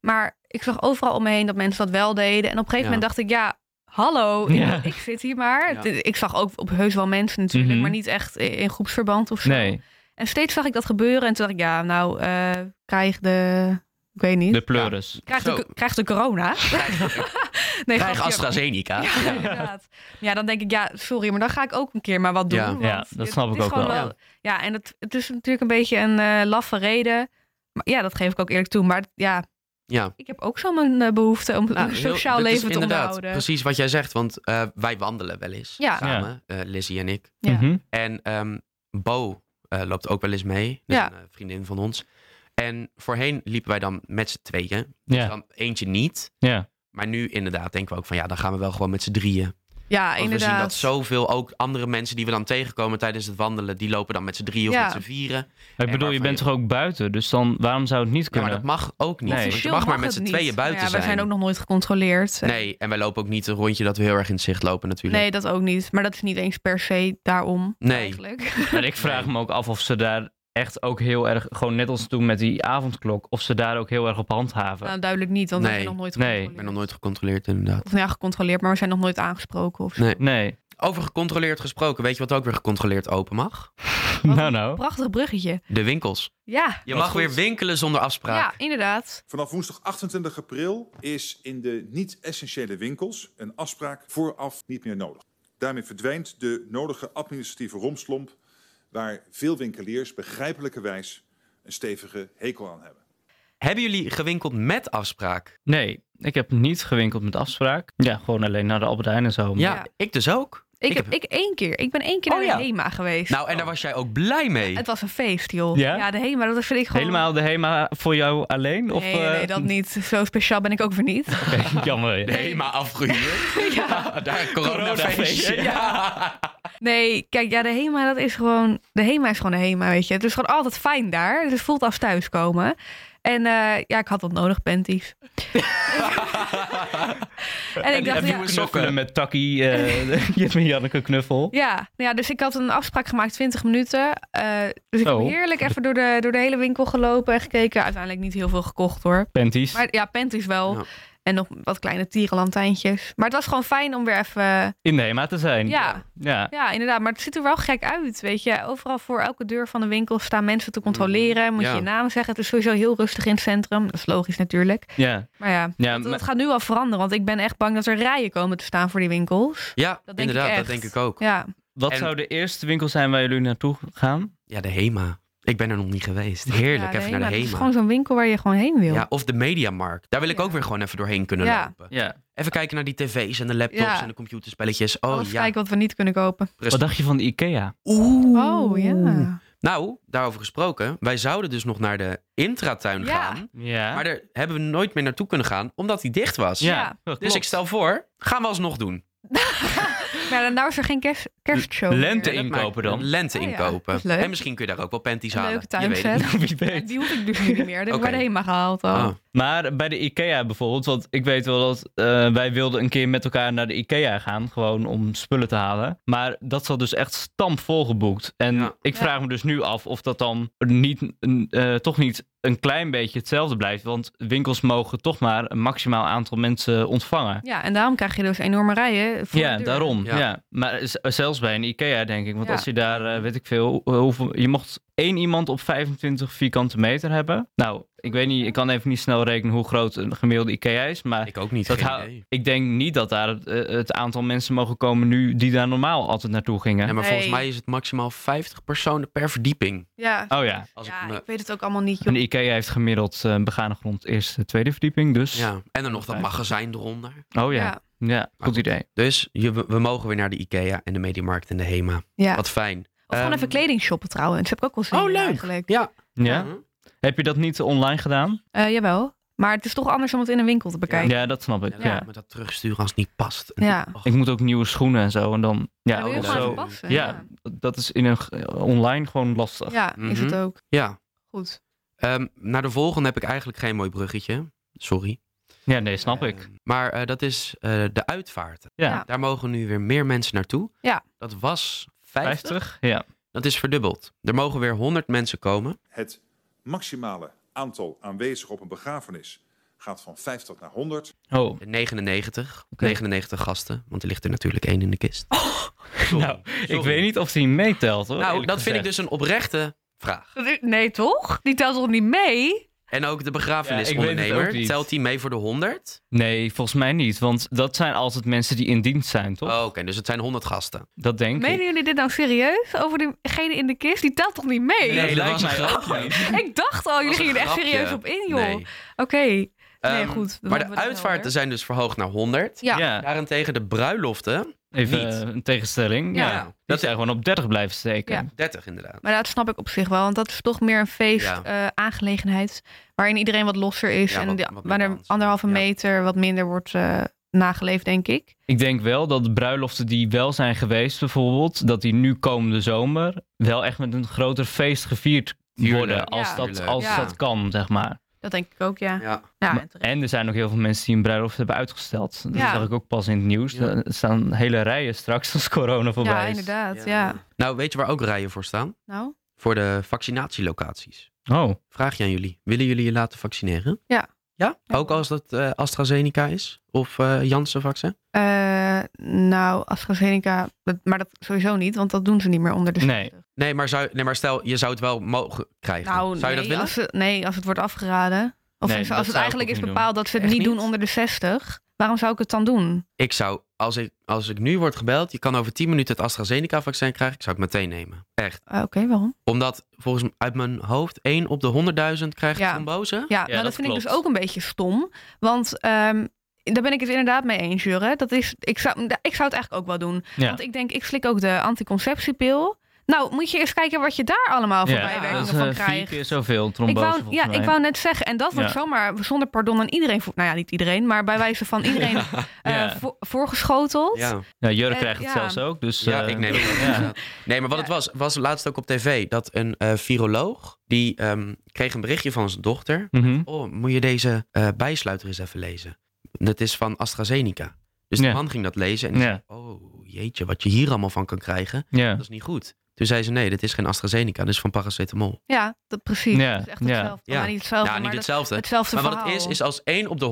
[SPEAKER 2] Maar ik zag overal om me heen dat mensen dat wel deden. En op een gegeven
[SPEAKER 3] Ja.
[SPEAKER 2] moment dacht ik, ja... Hallo, ik-
[SPEAKER 4] Ja.
[SPEAKER 2] ik, zit hier maar.
[SPEAKER 3] Ja.
[SPEAKER 2] Dit- Ik zag ook op heus wel mensen natuurlijk,
[SPEAKER 4] Mhm.
[SPEAKER 2] maar niet echt in, in groepsverband of zo.
[SPEAKER 4] nee,
[SPEAKER 2] En steeds zag ik dat gebeuren en toen dacht ik, ja, nou, eh, krijg de... Ik weet niet.
[SPEAKER 4] de pleuris.
[SPEAKER 2] Krijgt
[SPEAKER 3] Zo.
[SPEAKER 2] de, krijgt de corona? Nee,
[SPEAKER 3] Krijg
[SPEAKER 2] grapje.
[SPEAKER 3] AstraZeneca.
[SPEAKER 2] Ja, inderdaad. Ja, dan denk ik, ja, sorry, maar dan ga ik ook een keer maar wat doen.
[SPEAKER 3] Ja.
[SPEAKER 2] want
[SPEAKER 4] Ja, dat
[SPEAKER 2] het-
[SPEAKER 4] snap
[SPEAKER 2] het
[SPEAKER 4] ik
[SPEAKER 2] is
[SPEAKER 4] ook
[SPEAKER 2] gewoon
[SPEAKER 4] wel.
[SPEAKER 2] Ja, en het, het is natuurlijk een beetje een eh, laffe reden. Maar ja, dat geef ik ook eerlijk toe. Maar ja,
[SPEAKER 3] Ja.
[SPEAKER 2] ik heb ook zo mijn eh, behoefte om
[SPEAKER 3] Nou,
[SPEAKER 2] een
[SPEAKER 3] heel-
[SPEAKER 2] sociaal
[SPEAKER 3] dat is
[SPEAKER 2] leven te
[SPEAKER 3] inderdaad
[SPEAKER 2] onderhouden.
[SPEAKER 3] Precies wat jij zegt, want eh, wij wandelen wel eens
[SPEAKER 2] Ja.
[SPEAKER 3] samen, eh Lizzie en ik.
[SPEAKER 2] Ja.
[SPEAKER 4] Mhm.
[SPEAKER 3] En ehm, Bo eh, loopt ook wel eens mee, dat is
[SPEAKER 2] Ja.
[SPEAKER 3] een eh, vriendin van ons. En voorheen liepen wij dan met z'n tweeën, dus
[SPEAKER 4] ja,
[SPEAKER 3] dan eentje niet.
[SPEAKER 4] ja.
[SPEAKER 3] Maar nu inderdaad denken we ook van ja, dan gaan we wel gewoon met z'n drieën.
[SPEAKER 2] Ja,
[SPEAKER 3] Want we
[SPEAKER 2] inderdaad.
[SPEAKER 3] zien dat zoveel ook andere mensen die we dan tegenkomen tijdens het wandelen, die lopen dan met z'n drieën
[SPEAKER 2] Ja.
[SPEAKER 3] of met z'n vieren.
[SPEAKER 4] Ik bedoel,
[SPEAKER 3] waarvan
[SPEAKER 4] je bent
[SPEAKER 3] je-
[SPEAKER 4] toch ook buiten, dus dan waarom zou het niet
[SPEAKER 3] Ja,
[SPEAKER 4] kunnen?
[SPEAKER 3] maar dat mag ook niet.
[SPEAKER 4] Nee.
[SPEAKER 3] want je
[SPEAKER 2] Officieel
[SPEAKER 3] mag, maar met
[SPEAKER 2] het
[SPEAKER 3] z'n
[SPEAKER 2] niet.
[SPEAKER 3] tweeën
[SPEAKER 2] Maar
[SPEAKER 3] buiten
[SPEAKER 2] ja,
[SPEAKER 3] zijn.
[SPEAKER 2] Wij zijn ook nog nooit gecontroleerd.
[SPEAKER 3] Nee, en wij lopen ook niet een rondje dat we heel erg in het zicht lopen natuurlijk.
[SPEAKER 2] Nee, dat ook niet. Maar dat is niet eens per se daarom.
[SPEAKER 3] Nee.
[SPEAKER 2] Eigenlijk.
[SPEAKER 4] Maar ik vraag
[SPEAKER 3] Nee.
[SPEAKER 4] me ook af of ze daar echt ook heel erg, gewoon net als toen met die avondklok, of ze daar ook heel erg op handhaven.
[SPEAKER 2] Nou, duidelijk niet, want we
[SPEAKER 3] Nee.
[SPEAKER 2] zijn nog nooit
[SPEAKER 4] Nee.
[SPEAKER 2] gecontroleerd.
[SPEAKER 3] Ik ben nog nooit gecontroleerd inderdaad.
[SPEAKER 2] Of nou ja, gecontroleerd, maar we zijn nog nooit aangesproken. Of zo.
[SPEAKER 3] Nee.
[SPEAKER 4] Nee.
[SPEAKER 3] Over gecontroleerd gesproken, weet je wat ook weer gecontroleerd open mag?
[SPEAKER 2] Wat
[SPEAKER 4] Nou,
[SPEAKER 2] een
[SPEAKER 4] nou.
[SPEAKER 2] Prachtig bruggetje.
[SPEAKER 3] De winkels.
[SPEAKER 2] Ja,
[SPEAKER 3] Je
[SPEAKER 4] Wat
[SPEAKER 3] mag
[SPEAKER 4] goed.
[SPEAKER 3] weer winkelen zonder
[SPEAKER 2] ja
[SPEAKER 3] afspraak.
[SPEAKER 2] inderdaad.
[SPEAKER 5] Vanaf woensdag 28 april is in de niet-essentiële winkels een afspraak vooraf niet meer nodig. Daarmee verdwijnt de nodige administratieve romslomp waar veel winkeliers begrijpelijkerwijs een stevige hekel aan hebben.
[SPEAKER 3] Hebben jullie gewinkeld met afspraak?
[SPEAKER 4] Nee, ik heb niet gewinkeld met afspraak. Ja, gewoon alleen naar de Albert Heijn en zo.
[SPEAKER 3] Ja,
[SPEAKER 2] Ja.
[SPEAKER 3] ik dus ook.
[SPEAKER 2] Ik,
[SPEAKER 3] Ik
[SPEAKER 2] heb, ik één keer. Ik ben één keer
[SPEAKER 3] Oh,
[SPEAKER 2] naar de
[SPEAKER 3] ja.
[SPEAKER 2] HEMA geweest.
[SPEAKER 3] Nou, en daar was jij ook blij mee.
[SPEAKER 2] Het was een feest, joh.
[SPEAKER 4] Ja?
[SPEAKER 2] de HEMA, dat vind ik gewoon...
[SPEAKER 4] Helemaal de HEMA voor jou alleen? Of,
[SPEAKER 2] Nee, nee, nee,
[SPEAKER 4] eh,
[SPEAKER 2] dat niet. Zo speciaal ben ik ook weer niet.
[SPEAKER 4] Oké, jammer.
[SPEAKER 3] De HEMA afgehuurd.
[SPEAKER 2] ja.
[SPEAKER 3] Daar een
[SPEAKER 4] Coronafeestje.
[SPEAKER 3] coronafeestje. Ja.
[SPEAKER 2] Nee, kijk, ja, de HEMA, dat is gewoon... De HEMA is gewoon de HEMA, weet je. Het is gewoon altijd fijn daar. Dus het voelt als thuiskomen. En eh, ja, ik had wat nodig, panties. en ik dacht,
[SPEAKER 4] en
[SPEAKER 2] ja,
[SPEAKER 4] nieuwe sokken met Taki, eh Jip en Janneke Knuffel.
[SPEAKER 2] Ja, nou ja, dus ik had een afspraak gemaakt 20 minuten. Eh, dus ik heb
[SPEAKER 4] Oh.
[SPEAKER 2] heerlijk even door de, door de hele winkel gelopen en gekeken. Uiteindelijk niet heel veel gekocht hoor.
[SPEAKER 4] Panties.
[SPEAKER 2] Maar ja, panties wel.
[SPEAKER 3] Ja.
[SPEAKER 2] En nog wat kleine tierenlantijntjes. Maar het was gewoon fijn om weer even...
[SPEAKER 4] In de HEMA te zijn.
[SPEAKER 2] Ja.
[SPEAKER 4] Ja.
[SPEAKER 2] Ja, inderdaad. Maar het ziet er wel gek uit, weet je. Overal voor elke deur van de winkel staan mensen te controleren. Moet
[SPEAKER 3] Ja.
[SPEAKER 2] je je naam zeggen. Het is sowieso heel rustig in het centrum. Dat is logisch natuurlijk.
[SPEAKER 4] Ja.
[SPEAKER 2] Maar ja,
[SPEAKER 4] Ja,
[SPEAKER 2] dat, dat
[SPEAKER 4] maar-
[SPEAKER 2] gaat nu al veranderen. Want ik ben echt bang dat er rijen komen te staan voor die winkels.
[SPEAKER 3] Ja,
[SPEAKER 2] denk ik
[SPEAKER 3] inderdaad, dat
[SPEAKER 2] echt.
[SPEAKER 3] denk ik ook.
[SPEAKER 2] Ja,
[SPEAKER 4] Wat
[SPEAKER 3] En-
[SPEAKER 4] zou de eerste winkel zijn waar jullie naartoe gaan?
[SPEAKER 3] Ja, de HEMA. Ik ben er nog niet geweest. Heerlijk,
[SPEAKER 2] ja,
[SPEAKER 3] even
[SPEAKER 2] nee,
[SPEAKER 3] naar
[SPEAKER 2] maar
[SPEAKER 3] de
[SPEAKER 2] Het is
[SPEAKER 3] HEMA.
[SPEAKER 2] gewoon zo'n winkel waar je gewoon heen wil.
[SPEAKER 3] Ja, of de Mediamarkt. Daar wil ik
[SPEAKER 2] Ja.
[SPEAKER 3] ook weer gewoon even doorheen kunnen
[SPEAKER 2] Ja.
[SPEAKER 3] lopen.
[SPEAKER 4] Ja.
[SPEAKER 3] Even kijken naar die tv's en de laptops
[SPEAKER 2] Ja.
[SPEAKER 3] en de computerspelletjes. Oh
[SPEAKER 2] Alles
[SPEAKER 3] ja,
[SPEAKER 2] kijken wat we niet kunnen kopen.
[SPEAKER 4] Wat dacht je van Ikea?
[SPEAKER 3] Oeh.
[SPEAKER 2] Oh ja.
[SPEAKER 3] Nou, daarover gesproken. Wij zouden dus nog naar de intratuin
[SPEAKER 2] Ja.
[SPEAKER 3] gaan.
[SPEAKER 4] Ja.
[SPEAKER 3] Maar daar hebben we nooit meer naartoe kunnen gaan, omdat die dicht was.
[SPEAKER 4] ja,
[SPEAKER 2] Ja.
[SPEAKER 4] dat
[SPEAKER 3] Dus
[SPEAKER 4] klopt.
[SPEAKER 3] ik stel voor, gaan we alsnog doen.
[SPEAKER 2] Maar ja, nou is er geen kerst, kerstshow. meer.
[SPEAKER 4] Lente
[SPEAKER 3] Dat
[SPEAKER 4] inkopen
[SPEAKER 3] maakt-
[SPEAKER 4] dan?
[SPEAKER 3] Lente
[SPEAKER 2] Oh ja,
[SPEAKER 3] inkopen.
[SPEAKER 2] dat is leuk.
[SPEAKER 3] En misschien kun je daar ook wel panties
[SPEAKER 2] Een
[SPEAKER 3] halen.
[SPEAKER 2] leuk
[SPEAKER 3] Je weet het
[SPEAKER 2] tuinset.
[SPEAKER 3] niet.
[SPEAKER 4] Wie weet.
[SPEAKER 2] Die hoef ik dus nu niet meer. Die heb ik bij
[SPEAKER 3] Oké.
[SPEAKER 2] de HEMA gehaald al.
[SPEAKER 3] Ah.
[SPEAKER 4] Maar bij de IKEA bijvoorbeeld, want ik weet wel dat eh, wij wilden een keer met elkaar naar de IKEA gaan, gewoon om spullen te halen. Maar dat zat dus echt stampvol geboekt. En
[SPEAKER 3] Ja.
[SPEAKER 4] ik
[SPEAKER 2] Ja.
[SPEAKER 4] vraag me dus nu af of dat dan niet, een, eh, toch niet een klein beetje hetzelfde blijft. Want winkels mogen toch maar een maximaal aantal mensen ontvangen.
[SPEAKER 2] Ja, en daarom krijg je dus enorme rijen. voor
[SPEAKER 4] Ja,
[SPEAKER 2] de deur.
[SPEAKER 4] daarom.
[SPEAKER 3] Ja.
[SPEAKER 4] Ja. Maar z- zelfs bij een IKEA, denk ik. Want
[SPEAKER 2] Ja.
[SPEAKER 4] als je daar, eh, weet ik veel, hoe- hoeveel, je mocht één iemand op 25 vierkante meter hebben. Nou, ik weet niet, ik kan even niet snel rekenen hoe groot een gemiddelde IKEA is. Maar
[SPEAKER 3] Ah, Ik ook niet,
[SPEAKER 4] dat
[SPEAKER 3] geen
[SPEAKER 4] hou-
[SPEAKER 3] idee.
[SPEAKER 4] ik denk niet dat daar het, eh, het aantal mensen mogen komen nu die daar normaal altijd naartoe gingen.
[SPEAKER 3] Ja, maar volgens
[SPEAKER 2] Nee.
[SPEAKER 3] mij is het maximaal 50 personen per verdieping.
[SPEAKER 2] Ja,
[SPEAKER 4] Oh ja.
[SPEAKER 3] Ah, Als
[SPEAKER 2] ja
[SPEAKER 3] ik
[SPEAKER 2] ik,
[SPEAKER 3] me-
[SPEAKER 2] weet het ook allemaal niet, joh.
[SPEAKER 4] Een IKEA heeft gemiddeld eh, begane grond eerste, tweede verdieping. Dus,
[SPEAKER 3] ja. En dan nog dat magazijn eronder.
[SPEAKER 4] oh ja.
[SPEAKER 2] Ja.
[SPEAKER 4] ja. goed idee.
[SPEAKER 3] Dus je, we we mogen weer naar de IKEA en de Mediamarkt en de HEMA.
[SPEAKER 2] Ja.
[SPEAKER 3] Wat fijn.
[SPEAKER 2] Of gewoon
[SPEAKER 3] Ehm,
[SPEAKER 2] even kleding shoppen trouwens. Heb ik ook wel zin
[SPEAKER 3] Oh,
[SPEAKER 2] in
[SPEAKER 3] leuk.
[SPEAKER 2] eigenlijk.
[SPEAKER 3] Ja.
[SPEAKER 4] Ja?
[SPEAKER 3] Mhm.
[SPEAKER 4] Heb je dat niet online gedaan?
[SPEAKER 2] Eh, jawel. Maar het is toch anders om het in een winkel te bekijken.
[SPEAKER 4] Ja, dat snap ik.
[SPEAKER 3] Ja,
[SPEAKER 4] Ja.
[SPEAKER 3] laat me dat terugsturen als het niet past.
[SPEAKER 2] Ja.
[SPEAKER 3] Och,
[SPEAKER 4] Ik moet ook nieuwe schoenen en zo. En dan, ja,
[SPEAKER 2] Dan wil je
[SPEAKER 4] ook
[SPEAKER 3] dat
[SPEAKER 2] gewoon
[SPEAKER 4] zo.
[SPEAKER 3] is
[SPEAKER 2] even passen.
[SPEAKER 4] Ja, dat is in een, g- online gewoon lastig.
[SPEAKER 2] Ja, is het
[SPEAKER 3] Mhm.
[SPEAKER 2] ook.
[SPEAKER 3] ja.
[SPEAKER 2] Goed.
[SPEAKER 3] Ehm, naar de volgende heb ik eigenlijk geen mooi bruggetje. Sorry.
[SPEAKER 4] Ja, nee, snap
[SPEAKER 3] Ehm,
[SPEAKER 4] ik.
[SPEAKER 3] Maar eh, dat is eh, de uitvaarten.
[SPEAKER 4] Ja.
[SPEAKER 2] ja.
[SPEAKER 3] Daar mogen nu weer meer mensen naartoe.
[SPEAKER 2] Ja.
[SPEAKER 3] Dat was 50.
[SPEAKER 4] 50? Ja.
[SPEAKER 3] Dat is verdubbeld. Er mogen weer 100 mensen komen.
[SPEAKER 5] Het maximale aantal aanwezigen op een begrafenis gaat van 50 naar 100.
[SPEAKER 4] Oh,
[SPEAKER 3] 99.
[SPEAKER 4] Oké.
[SPEAKER 3] 99 gasten. Want er ligt er natuurlijk één in de kist.
[SPEAKER 2] Oh.
[SPEAKER 3] Sorry.
[SPEAKER 4] nou, ik
[SPEAKER 3] Sorry.
[SPEAKER 4] weet niet of die meetelt hoor.
[SPEAKER 3] Nou,
[SPEAKER 4] eerlijk
[SPEAKER 3] dat vind ik
[SPEAKER 4] gezegd.
[SPEAKER 3] dus een oprechte vraag.
[SPEAKER 2] Nee, toch? Die telt toch niet mee?
[SPEAKER 3] En
[SPEAKER 4] Ja, ik
[SPEAKER 3] ook de
[SPEAKER 4] weet het ook
[SPEAKER 3] begrafenisondernemer.
[SPEAKER 4] niet.
[SPEAKER 3] Telt die mee voor de 100?
[SPEAKER 4] Nee, volgens mij niet. Want dat zijn altijd mensen die in dienst zijn, toch?
[SPEAKER 3] Oh, Oké, dus het zijn 100
[SPEAKER 2] Oh,
[SPEAKER 3] gasten.
[SPEAKER 4] Dat denk ik.
[SPEAKER 2] Menen jullie dit nou serieus? Over diegene in de kist? Die telt toch niet mee?
[SPEAKER 3] Nee, dat
[SPEAKER 4] lijkt
[SPEAKER 3] was een
[SPEAKER 4] mij ook
[SPEAKER 3] grapje.
[SPEAKER 4] niet.
[SPEAKER 2] Ik dacht al, jullie
[SPEAKER 3] een
[SPEAKER 2] gingen er echt
[SPEAKER 3] grapje.
[SPEAKER 2] serieus op in, joh.
[SPEAKER 3] Nee.
[SPEAKER 2] Oké. Nee,
[SPEAKER 3] Ehm,
[SPEAKER 2] goed.
[SPEAKER 3] Maar
[SPEAKER 2] Dan hebben
[SPEAKER 3] de
[SPEAKER 2] we dat
[SPEAKER 3] uitvaarten
[SPEAKER 2] helder.
[SPEAKER 3] zijn dus verhoogd naar 100.
[SPEAKER 2] Ja.
[SPEAKER 4] Ja,
[SPEAKER 3] Daarentegen de bruiloften,
[SPEAKER 4] even
[SPEAKER 3] niet.
[SPEAKER 4] eh, een tegenstelling. Ja.
[SPEAKER 2] Ja.
[SPEAKER 4] Die
[SPEAKER 3] Dat-
[SPEAKER 4] zijn gewoon op 30 blijven steken.
[SPEAKER 2] Ja.
[SPEAKER 3] 30 inderdaad.
[SPEAKER 2] Maar dat snap ik op zich wel, want dat is toch meer een feest
[SPEAKER 3] Ja.
[SPEAKER 2] eh, aangelegenheid waarin iedereen wat losser is
[SPEAKER 3] Ja,
[SPEAKER 2] en
[SPEAKER 3] wat-
[SPEAKER 2] die-
[SPEAKER 3] wat meer
[SPEAKER 2] wanneer
[SPEAKER 3] balans.
[SPEAKER 2] anderhalve
[SPEAKER 3] Ja.
[SPEAKER 2] meter wat minder wordt eh, nageleefd, denk ik.
[SPEAKER 4] Ik denk wel dat de bruiloften die wel zijn geweest, bijvoorbeeld, dat die nu komende zomer wel echt met een groter feest gevierd
[SPEAKER 3] Tuurlijk.
[SPEAKER 4] worden. Als,
[SPEAKER 2] Ja.
[SPEAKER 4] dat,
[SPEAKER 3] Tuurlijk.
[SPEAKER 4] als
[SPEAKER 2] Ja.
[SPEAKER 4] dat kan, zeg maar.
[SPEAKER 2] Dat denk ik ook, ja.
[SPEAKER 3] Ja.
[SPEAKER 2] Ja,
[SPEAKER 4] Maar-
[SPEAKER 2] en terecht.
[SPEAKER 4] en er zijn ook heel veel mensen die een bruiloft hebben uitgesteld. Dat
[SPEAKER 2] Ja.
[SPEAKER 4] zag ik ook pas in het nieuws.
[SPEAKER 3] Ja.
[SPEAKER 4] Er staan hele rijen straks als corona voorbij
[SPEAKER 2] ja
[SPEAKER 4] is.
[SPEAKER 2] inderdaad. Ja.
[SPEAKER 3] Nou, weet je waar ook rijen voor staan?
[SPEAKER 2] Nou,
[SPEAKER 3] Voor de vaccinatielocaties.
[SPEAKER 4] Oh,
[SPEAKER 3] Vraag je aan jullie. Willen jullie je laten vaccineren?
[SPEAKER 2] Ja.
[SPEAKER 3] Ja?
[SPEAKER 2] Ja.
[SPEAKER 3] Ook als dat eh, AstraZeneca is? Of eh Janssen-vaccin?
[SPEAKER 2] eh nou, AstraZeneca, dat- maar dat sowieso niet, want dat doen ze niet meer onder de
[SPEAKER 4] Nee.
[SPEAKER 2] 60.
[SPEAKER 3] Nee maar, zou, nee, maar stel, je zou het wel mogen krijgen.
[SPEAKER 2] Nou,
[SPEAKER 3] zou je
[SPEAKER 2] nee,
[SPEAKER 3] dat willen?
[SPEAKER 2] als ze- nee, als het wordt afgeraden. Of
[SPEAKER 4] Nee,
[SPEAKER 2] als
[SPEAKER 4] dat
[SPEAKER 2] het
[SPEAKER 4] zou ik
[SPEAKER 2] eigenlijk
[SPEAKER 4] ook
[SPEAKER 2] is
[SPEAKER 4] niet doen.
[SPEAKER 2] bepaald dat ze het
[SPEAKER 3] Echt
[SPEAKER 2] niet doen
[SPEAKER 3] niet?
[SPEAKER 2] onder de 60, waarom zou ik het dan doen?
[SPEAKER 3] Ik zou, als ik, als ik nu word gebeld, je kan over 10 minuten het AstraZeneca-vaccin krijgen, ik zou het meteen nemen. Echt.
[SPEAKER 2] Eh, Oké, waarom?
[SPEAKER 3] Omdat volgens m- uit mijn hoofd 1 op de 100.000 krijgt
[SPEAKER 2] Ja.
[SPEAKER 3] trombose.
[SPEAKER 2] Ja, nou, dat,
[SPEAKER 4] dat
[SPEAKER 2] vind ik
[SPEAKER 4] klopt.
[SPEAKER 2] dus ook een beetje stom. Want ehm, daar ben ik het inderdaad mee eens, Jurre. Dat is, ik, zou, da- ik zou het eigenlijk ook wel doen.
[SPEAKER 4] Ja.
[SPEAKER 2] Want ik denk, ik slik ook de anticonceptiepil. Nou, moet je eens kijken wat je daar allemaal voor
[SPEAKER 4] ja.
[SPEAKER 2] bijwerkingen
[SPEAKER 4] dat is
[SPEAKER 2] van
[SPEAKER 4] eh, vier
[SPEAKER 2] krijgt.
[SPEAKER 4] keer zoveel
[SPEAKER 2] Ik
[SPEAKER 4] trombose
[SPEAKER 2] wou,
[SPEAKER 4] volgens
[SPEAKER 2] ja,
[SPEAKER 4] mij.
[SPEAKER 2] ik wou net zeggen, en dat wordt
[SPEAKER 4] Ja.
[SPEAKER 2] zomaar zonder pardon aan iedereen, voor- nou ja, niet iedereen, maar bij wijze van iedereen eh,
[SPEAKER 4] Ja.
[SPEAKER 2] voor- voorgeschoteld.
[SPEAKER 3] Ja.
[SPEAKER 4] Ja, Jurre
[SPEAKER 2] Eh,
[SPEAKER 4] krijgt het
[SPEAKER 2] ja.
[SPEAKER 4] zelfs ook. Dus,
[SPEAKER 3] Ja,
[SPEAKER 4] eh,
[SPEAKER 3] ik neem het ook.
[SPEAKER 4] ja.
[SPEAKER 3] inderdaad. Nee, maar wat het was, was laatst ook op tv dat een eh, viroloog, die ehm, kreeg een berichtje van zijn dochter.
[SPEAKER 4] Mhm.
[SPEAKER 3] Oh, moet je deze eh, bijsluiter eens even lezen? Dat is van AstraZeneca. Dus
[SPEAKER 4] Ja.
[SPEAKER 3] de man ging dat lezen en die
[SPEAKER 4] Ja.
[SPEAKER 3] zei, oh jeetje, wat je hier allemaal van kan krijgen,
[SPEAKER 4] ja.
[SPEAKER 3] dat is niet goed. Toen zei ze, nee, dit is geen AstraZeneca, dit is van paracetamol.
[SPEAKER 2] Ja, dat precies.
[SPEAKER 4] Ja,
[SPEAKER 2] Dat is echt
[SPEAKER 4] ja.
[SPEAKER 2] hetzelfde.
[SPEAKER 3] Ja.
[SPEAKER 2] Nou, niet hetzelfde,
[SPEAKER 3] ja,
[SPEAKER 2] Oh, maar
[SPEAKER 3] niet
[SPEAKER 2] dat-
[SPEAKER 3] hetzelfde.
[SPEAKER 2] hetzelfde
[SPEAKER 3] maar wat
[SPEAKER 2] verhaal.
[SPEAKER 3] het is, is als 1 op de